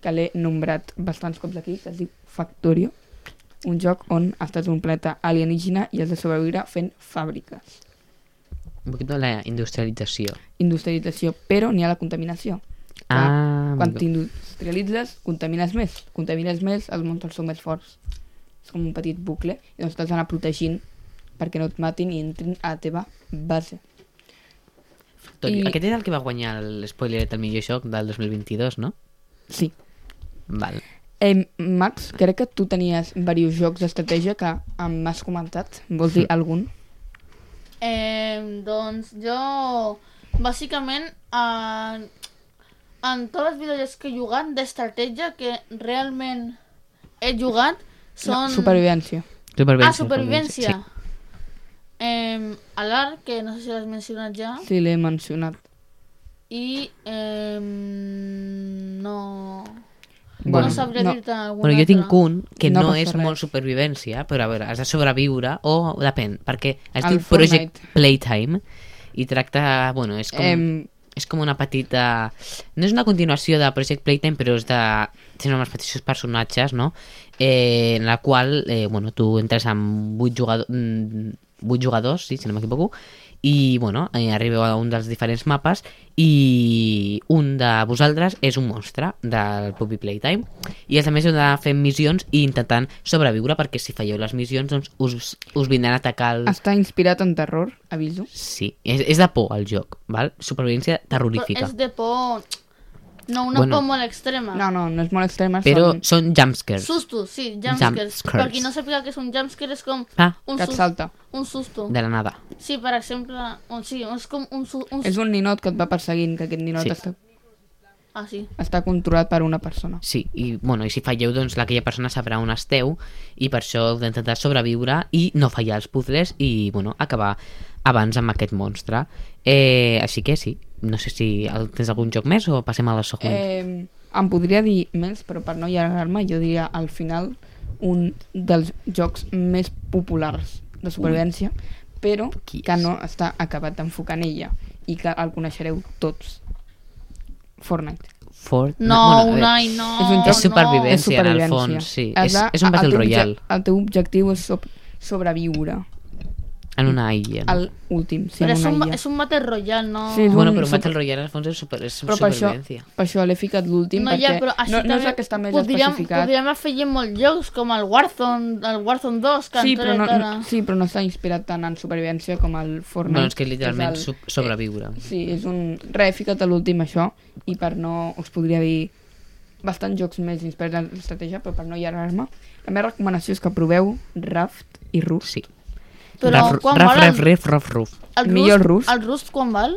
B: que l'he nombrat bastants cops aquí, que es diu Factorio, un joc on estàs en un planeta alienígena i has de sobreviure fent fàbriques.
A: Un poquito la industrialització.
B: Industrialització, però n'hi ha la contaminació.
A: Ah,
B: quan
A: amigo.
B: t'industrialitzes, contamines més. Contamines més, els monstres són més forts. És com un petit bucle. I doncs t'has d'anar protegint perquè no et matin i entrin a la teva base.
A: Tot,
B: i-
A: Aquest és el que va guanyar l'espoiler del millor joc del 2022, no?
B: Sí.
A: Val.
B: Eh, Max, crec que tu tenies diversos jocs d'estratègia que em has comentat. Vols
A: Hm.
B: dir algun?
C: Eh, doncs jo, bàsicament, en, en totes les videojocs que he jugat d'estratègia que realment he jugat, Són...
B: Supervivència.
C: Ah,
A: Supervivència.
C: supervivència. Eh, Alar, que no sé si l'has mencionat ja.
B: Sí, l'he mencionat.
C: I... Eh, em, no...
A: Bueno,
C: no sabré
B: no.
C: dir-te alguna
A: Bueno, jo
C: altra.
A: tinc un que
B: No
A: no,
B: passa
A: és
B: res.
A: molt supervivència, però a veure, has de sobreviure o depèn, perquè es
B: El
A: diu Project
B: Fortnite.
A: Playtime i tracta, bueno, és com,
B: Em,
A: és com una petita... No és una continuació de Project Playtime, però és de... Tenen els mateixos personatges, no? Eh, en la qual, eh, bueno, tu entres amb 8 jugadors, 8 jugadors, sí, si no m'equivoco, i, bueno, eh, arribeu a un dels diferents mapes i un de vosaltres és un monstre del Puppy Playtime i els altres heu de fer missions i intentant sobreviure perquè si falleu les missions doncs us, us vindran a atacar
C: Ah.
A: el...
B: està inspirat en terror, aviso.
A: Sí, és, és de por el joc, val? Supervivència
C: Però
A: terrorífica.
C: és de por... No, una
A: Bueno.
C: por molt extrema.
B: No, no, no és molt extrema.
A: Però
B: Són...
A: són jumpscares.
C: Susto, sí,
A: Jumpscares.
C: jumpscares. Per qui no sàpiga què és un jumpscare és com
A: Ah,
C: un,
B: Que et
C: sus
B: salta.
C: un susto.
A: de la nada.
C: Sí, per exemple, un, sí, és com un, su un,
B: És un ninot que et va perseguint, que aquest ninot
A: Sí.
B: està,
C: Ah, sí.
B: està controlat per una persona.
A: Sí, i, bueno, i si falleu, doncs aquella persona sabrà on esteu i per això heu d'intentar sobreviure i no fallar els puzzles i, bueno, acabar abans amb aquest monstre. Eh, així que sí, no sé si el- tens algun joc més o passem a la següent. Eh...
B: Eh, em podria dir més, però per no allargar-me, jo diria al final un dels jocs més populars de supervivència, però
A: Qui
B: que
A: és?
B: no està acabat d'enfocar en ella i que el coneixereu tots. Fortnite.
A: Fort...
C: No,
A: a
C: un
A: veure,
C: ai, no.
B: és un joc-
A: És supervivent. Supervivència, en el fons, sí.
B: Has
A: És-
B: de-
A: és un Battle
B: el teu obje-
A: Royale.
B: El teu objectiu és sob- sobreviure.
A: En una illa. No?
B: El últim, sí,
C: Però és
B: en
C: un,
B: una
C: ba-
B: illa.
C: és un battle royale, no?
B: Sí, és
A: Bueno,
B: un
A: però un
B: super-
A: Battle Royale, en el fons, és, super, és
B: Però per això,
A: supervivència.
B: per això l'he ficat l'últim,
C: no,
B: perquè
C: ja, però així
B: no, no és
C: també
B: el que està més
C: podríem,
B: especificat.
C: Podríem afegir molts jocs, com el Warzone, el Warzone 2, que
B: Sí
C: han
B: però, no,
C: tret ara.
B: no, sí, però no s'ha inspirat tant en supervivència com el Fortnite.
A: Bueno, és que literalment
B: és eh,
A: so- sobreviure.
B: Sí, és un... Re, he ficat a l'últim això, i per no... Us podria dir bastants jocs més inspirats en estratègia, però per no allargar-me, la meva recomanació és que proveu Raft i Rust.
A: Sí.
C: Però
A: raf,
C: quan
A: raf,
C: volen-
A: raf, raf, raf, raf.
C: El
B: millor
C: Rust,
B: Rust.
C: el Rust quan val?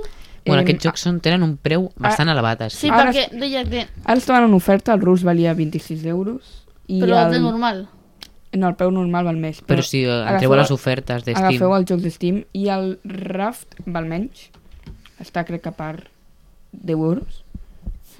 A: Bueno,
B: Em,
A: aquests jocs són, tenen un preu bastant elevat. així.
C: Sí,
B: Ara-
C: perquè deia que...
B: Ara estaven en oferta, el Rust valia 26 euros, i
C: Però el... de
B: el,
C: normal.
B: no, el preu normal val més.
A: Però si eh, entreu
B: agafeu
A: a les
B: el-
A: ofertes de Steam...
B: Agafeu el joc de Steam i el Raft val menys. Està, crec que per 10 euros.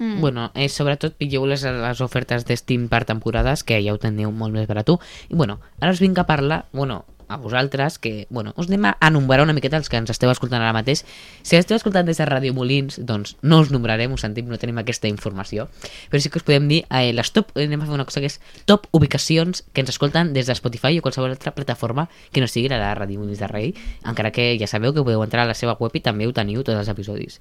C: Mm.
A: Bueno, eh, sobretot pilleu les, les ofertes de Steam per temporades, que ja ho teniu molt més barat. I bueno, ara us vinc a parlar, bueno, a vosaltres, que, bueno, us anem a enumerar una miqueta els que ens esteu escoltant ara mateix. Si esteu escoltant des de Radio Molins, doncs no us nombrarem, us sentim, no tenim aquesta informació. Però sí que us podem dir, eh, les top, anem a fer una cosa que és top ubicacions que ens escolten des de Spotify o qualsevol altra plataforma que no sigui la de Radio Molins de Rei, encara que ja sabeu que podeu entrar a la seva web i també ho teniu tots els episodis.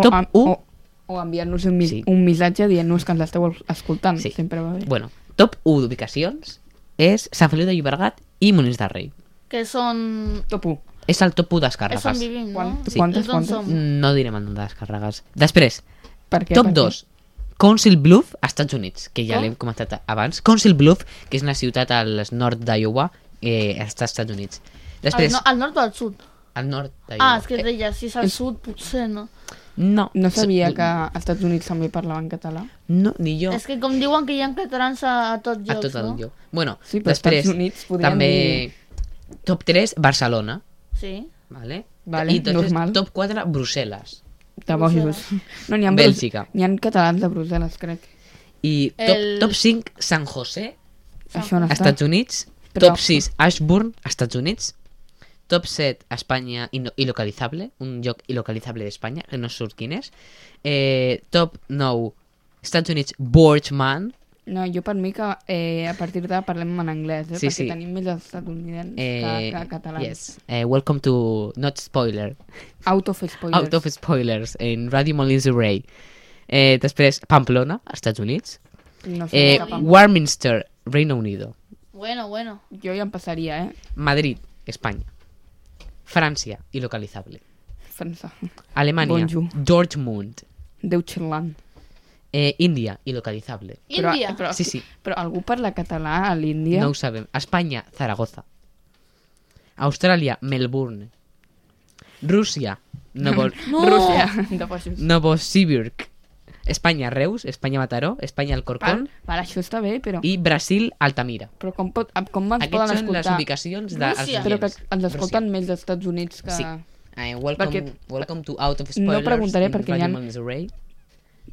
A: top
B: am-
A: 1...
B: o, o enviar-nos un, mis
A: Sí.
B: un missatge dient-nos que ens l'esteu escoltant.
A: Sí.
B: Sí. Sempre va bé.
A: Bueno, top 1 d'ubicacions és Sant Feliu de Llobregat i Molins de Rei.
C: Que són...
B: Top 1.
A: És el top 1
C: És on
A: descàrregues.
C: vivim, no?
B: Quant-
A: Sí.
B: Quantes,
C: És on
B: quantes?
C: som.
A: No direm el nom de descàrregues. Després,
B: Per què?
A: top
B: per
A: 2, Council Bluff, Estats Units, que ja
C: Com?
A: l'hem comentat abans. Council Bluff, que és una ciutat al nord d'Iowa, eh, als Estats Units.
C: Al,
A: Després,
C: no, al nord o al sud?
A: al nord d'Iowa. Eh,
C: Ah, és que deia, si és al sud, potser no.
A: No,
B: No sabia que als Estats Units també parlaven català.
A: No, ni jo.
C: És que com diuen que hi ha catalans a, a tot
A: a
C: llocs,
A: tot el
C: no?
A: lloc. Bueno,
B: Sí, però als
A: després,
B: Estats Units podríem
A: també...
B: dir-
A: Top 3, Barcelona.
C: Sí.
A: Vale?
B: Vale,
A: I entonces,
B: normal.
A: top 4, Brussel·les.
B: De bojos. No, n'hi ha,
A: Bèlgica.
B: N'hi ha catalans de Brussel·les, crec.
A: I top,
C: El-
A: top 5, San José,
B: Això on està?
A: Estats Units.
B: Però-
A: Top 6, Ashburn, Estats Units. Top 7, Espanya ino- il·localitzable, un lloc il·localitzable d'Espanya, que no surt quin és. Eh, top 9, Estats Units, Boardman.
B: No, jo per mi que eh, a partir d'ara parlem en anglès, eh?
A: Sí,
B: perquè
A: sí.
B: tenim més estatunidencs que,
A: Eh,
B: que catalans.
A: yes. Eh, welcome to Not Spoiler,
B: Out of spoilers.
A: Out of Spoilers, en Radio Molins Ray. Eh, després, Pamplona, Estats Units.
B: No sé,
A: Eh,
B: cap a-
A: Warminster, Reino Unido.
C: Bueno, bueno.
B: Jo ja em passaria, eh?
A: Madrid, España. Francia, ilocalizable.
B: França.
A: Alemania,
B: Bonjour.
A: Dortmund.
B: Deutschland.
A: Eh, India, ilocalizable.
B: Però-
C: Índia.
B: Però,
A: Sí, sí.
B: però algú parla català a l'Índia?
A: No ho sabem. España, Zaragoza. Australia, Melbourne. Rusia, Novo
C: No!
B: Rússia. De baixos.
A: Novosibirsk. Espanya-Reus, Espanya-Mataró, Espanya-Alcorcón
B: Val, això està bé, però...
A: i Brasil-Altamira.
B: Però com, pot, com ens
A: Aquestes
B: poden
A: són les
B: escoltar?
A: ubicacions dels
C: Rússia.
B: Espero que ens escolten més dels Estats Units que...
A: Sí. Ah, welcome,
B: Perquè-
A: welcome to Out of
B: No
A: Spoilers.
B: preguntaré
A: in
B: perquè
A: Radio
B: hi ha-
A: Monterrey.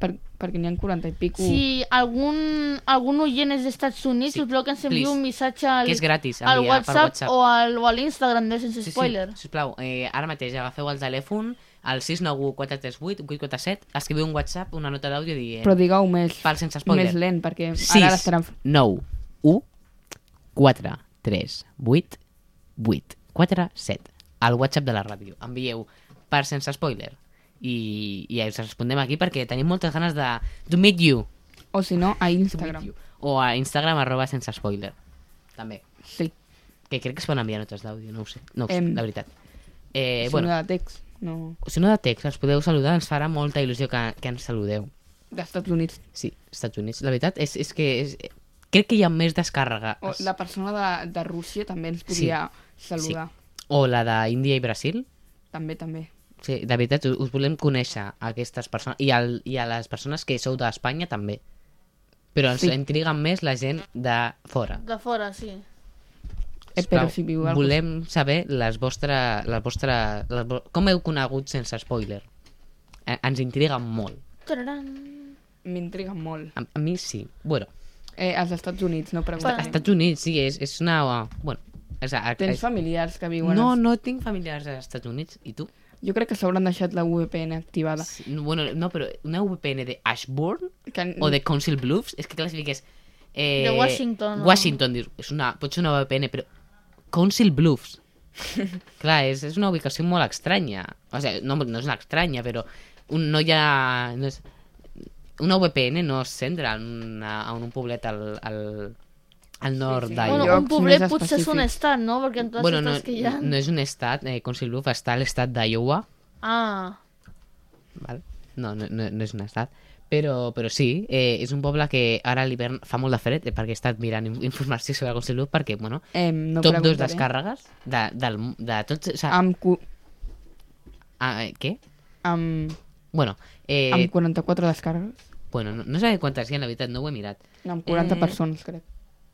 B: Per, perquè n'hi ha 40 i pico.
C: Si algun, algun oient és d'Estats Units,
A: Sí,
C: sí. us pues que ens enviï
A: please.
C: un missatge al,
A: Que és gratis,
C: al
A: enviar per
C: WhatsApp,
A: WhatsApp.
C: o al, o a l'Instagram de Sense
A: Sí,
C: Spoiler.
A: Sí, sisplau, eh, ara mateix agafeu el telèfon al 691 438 847, escriviu un WhatsApp, una nota d'àudio dient...
B: Però digueu més,
A: Pel sense spoiler.
B: més lent, perquè ara
A: 6,
B: l'estaran...
A: 9, 1, 4, 3, 8, 8, 4, 7. Al WhatsApp de la ràdio. Envieu per sense spoiler. I, i us respondem aquí perquè tenim moltes ganes de... To meet you.
B: O si no, a
A: To meet
B: Instagram.
A: you. O a Instagram arroba sense spoiler. També.
B: Sí,
A: Que crec que es poden enviar notes d'àudio, no ho sé. No ho sé,
B: Em.
A: la veritat. Eh,
B: eh, bueno.
A: bueno,
B: de text. No,
A: si no de text ens podeu saludar, ens farà molta il·lusió que, que ens saludeu.
B: d'Estats Units.
A: Sí, Estats Units. La veritat és, és que és, crec que hi ha més descàrrega.
B: O la persona de, de Rússia també ens podria saludar.
A: O la d'Índia i Brasil.
B: També, també.
A: Sí, de veritat, us, us volem conèixer a aquestes persones i, al, i a les persones que sou d'Espanya també. Però ens
B: Sí.
A: sí. intriguen més la gent de fora.
C: De fora, sí.
B: Eh,
A: Sisplau,
B: però si viu al
A: Volem saber les vostres... Les vostres les, vo- com heu conegut sense spoiler. Eh, ens intriga molt.
C: Tararan.
B: M'intriga molt.
A: A, a mi sí. Bueno,
B: Eh, als Estats Units, no pregunta.
C: Bueno.
A: als Estats Units sí, és, és una... Bueno, és, a,
B: Tens
A: és,
B: familiars que viuen...
A: no,
B: als-
A: no tinc familiars als Estats Units. I tu?
B: Jo crec que s'hauran deixat la VPN activada.
A: Sí, no, bueno, no, però una VPN de Ashburn
B: Que...
A: o de Council Bluffs, és que classifiques... Eh,
C: De Washington, no?
A: Washington, dius, és una, pot ser una VPN, però Council Bluffs. Clar, és, és una ubicació molt estranya. O sigui, no, no és una estranya, però un, no hi ha... No és, una VPN no es centra en, una, en un poblet al, al, al nord
B: sí.
A: sí, sí.
C: Bueno,
B: llocs
C: un poblet
B: més
C: potser és un
B: específics.
C: estat, no? Perquè
B: Doncs
C: en totes
A: Bueno, no,
C: aquestes que hi ha...
A: no és un estat, eh, Council Bluffs està a l'estat d'Iowa,
C: Ah,
A: Val? No, no, no, no és un estat. Però, però sí, eh, és un poble que ara a l'hivern fa molt de fred, eh, perquè he estat mirant in- informació sobre Consell Lluc, perquè, bueno,
B: Eh, no
A: no top dos
B: preguntaré.
A: descàrregues de, del, mu- de tots... O sea,
B: Amb, cu...
A: ah, eh, què?
B: amb,
A: Bueno, eh,
B: amb 44 descàrregues?
A: bueno no, no sé quantes hi ha, la veritat, no ho he mirat.
B: No, amb 40
A: eh,
B: persones, crec.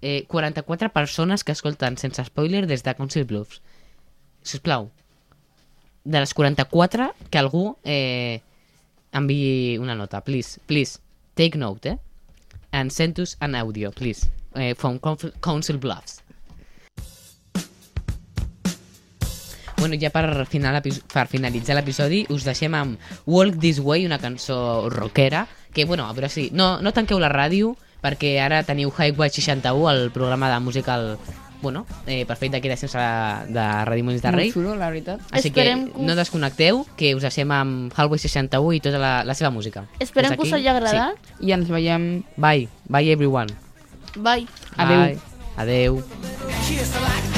A: Eh, 44 persones que escolten sense spoiler des de Council Bluffs. Sisplau, de les 44, que algú eh, enviï una nota, please, please, take note, eh? And send us an audio, please, eh, from Conf- Council Bluffs. Bueno, ja per, final, epi- per finalitzar l'episodi us deixem amb Walk This Way, una cançó rockera, que, bueno, a veure si... No, no tanqueu la ràdio, perquè ara teniu Highway 61, el programa de música al... Bueno, eh, perfecte aquí de sense de Ràdio Molins de Rei.
B: Molt xulo, la veritat.
A: Així
C: Esperem
A: que,
C: que us-
A: no desconnecteu, que us deixem amb Hallway 61 i tota la, la seva música.
C: esperem
A: Des
C: que us
A: d'aquí,
C: hagi agradat.
B: I ens veiem
A: Sí. Bye, bye everyone.
C: Bye.
B: Adeu.
A: Bye. Adeu.
D: kiss like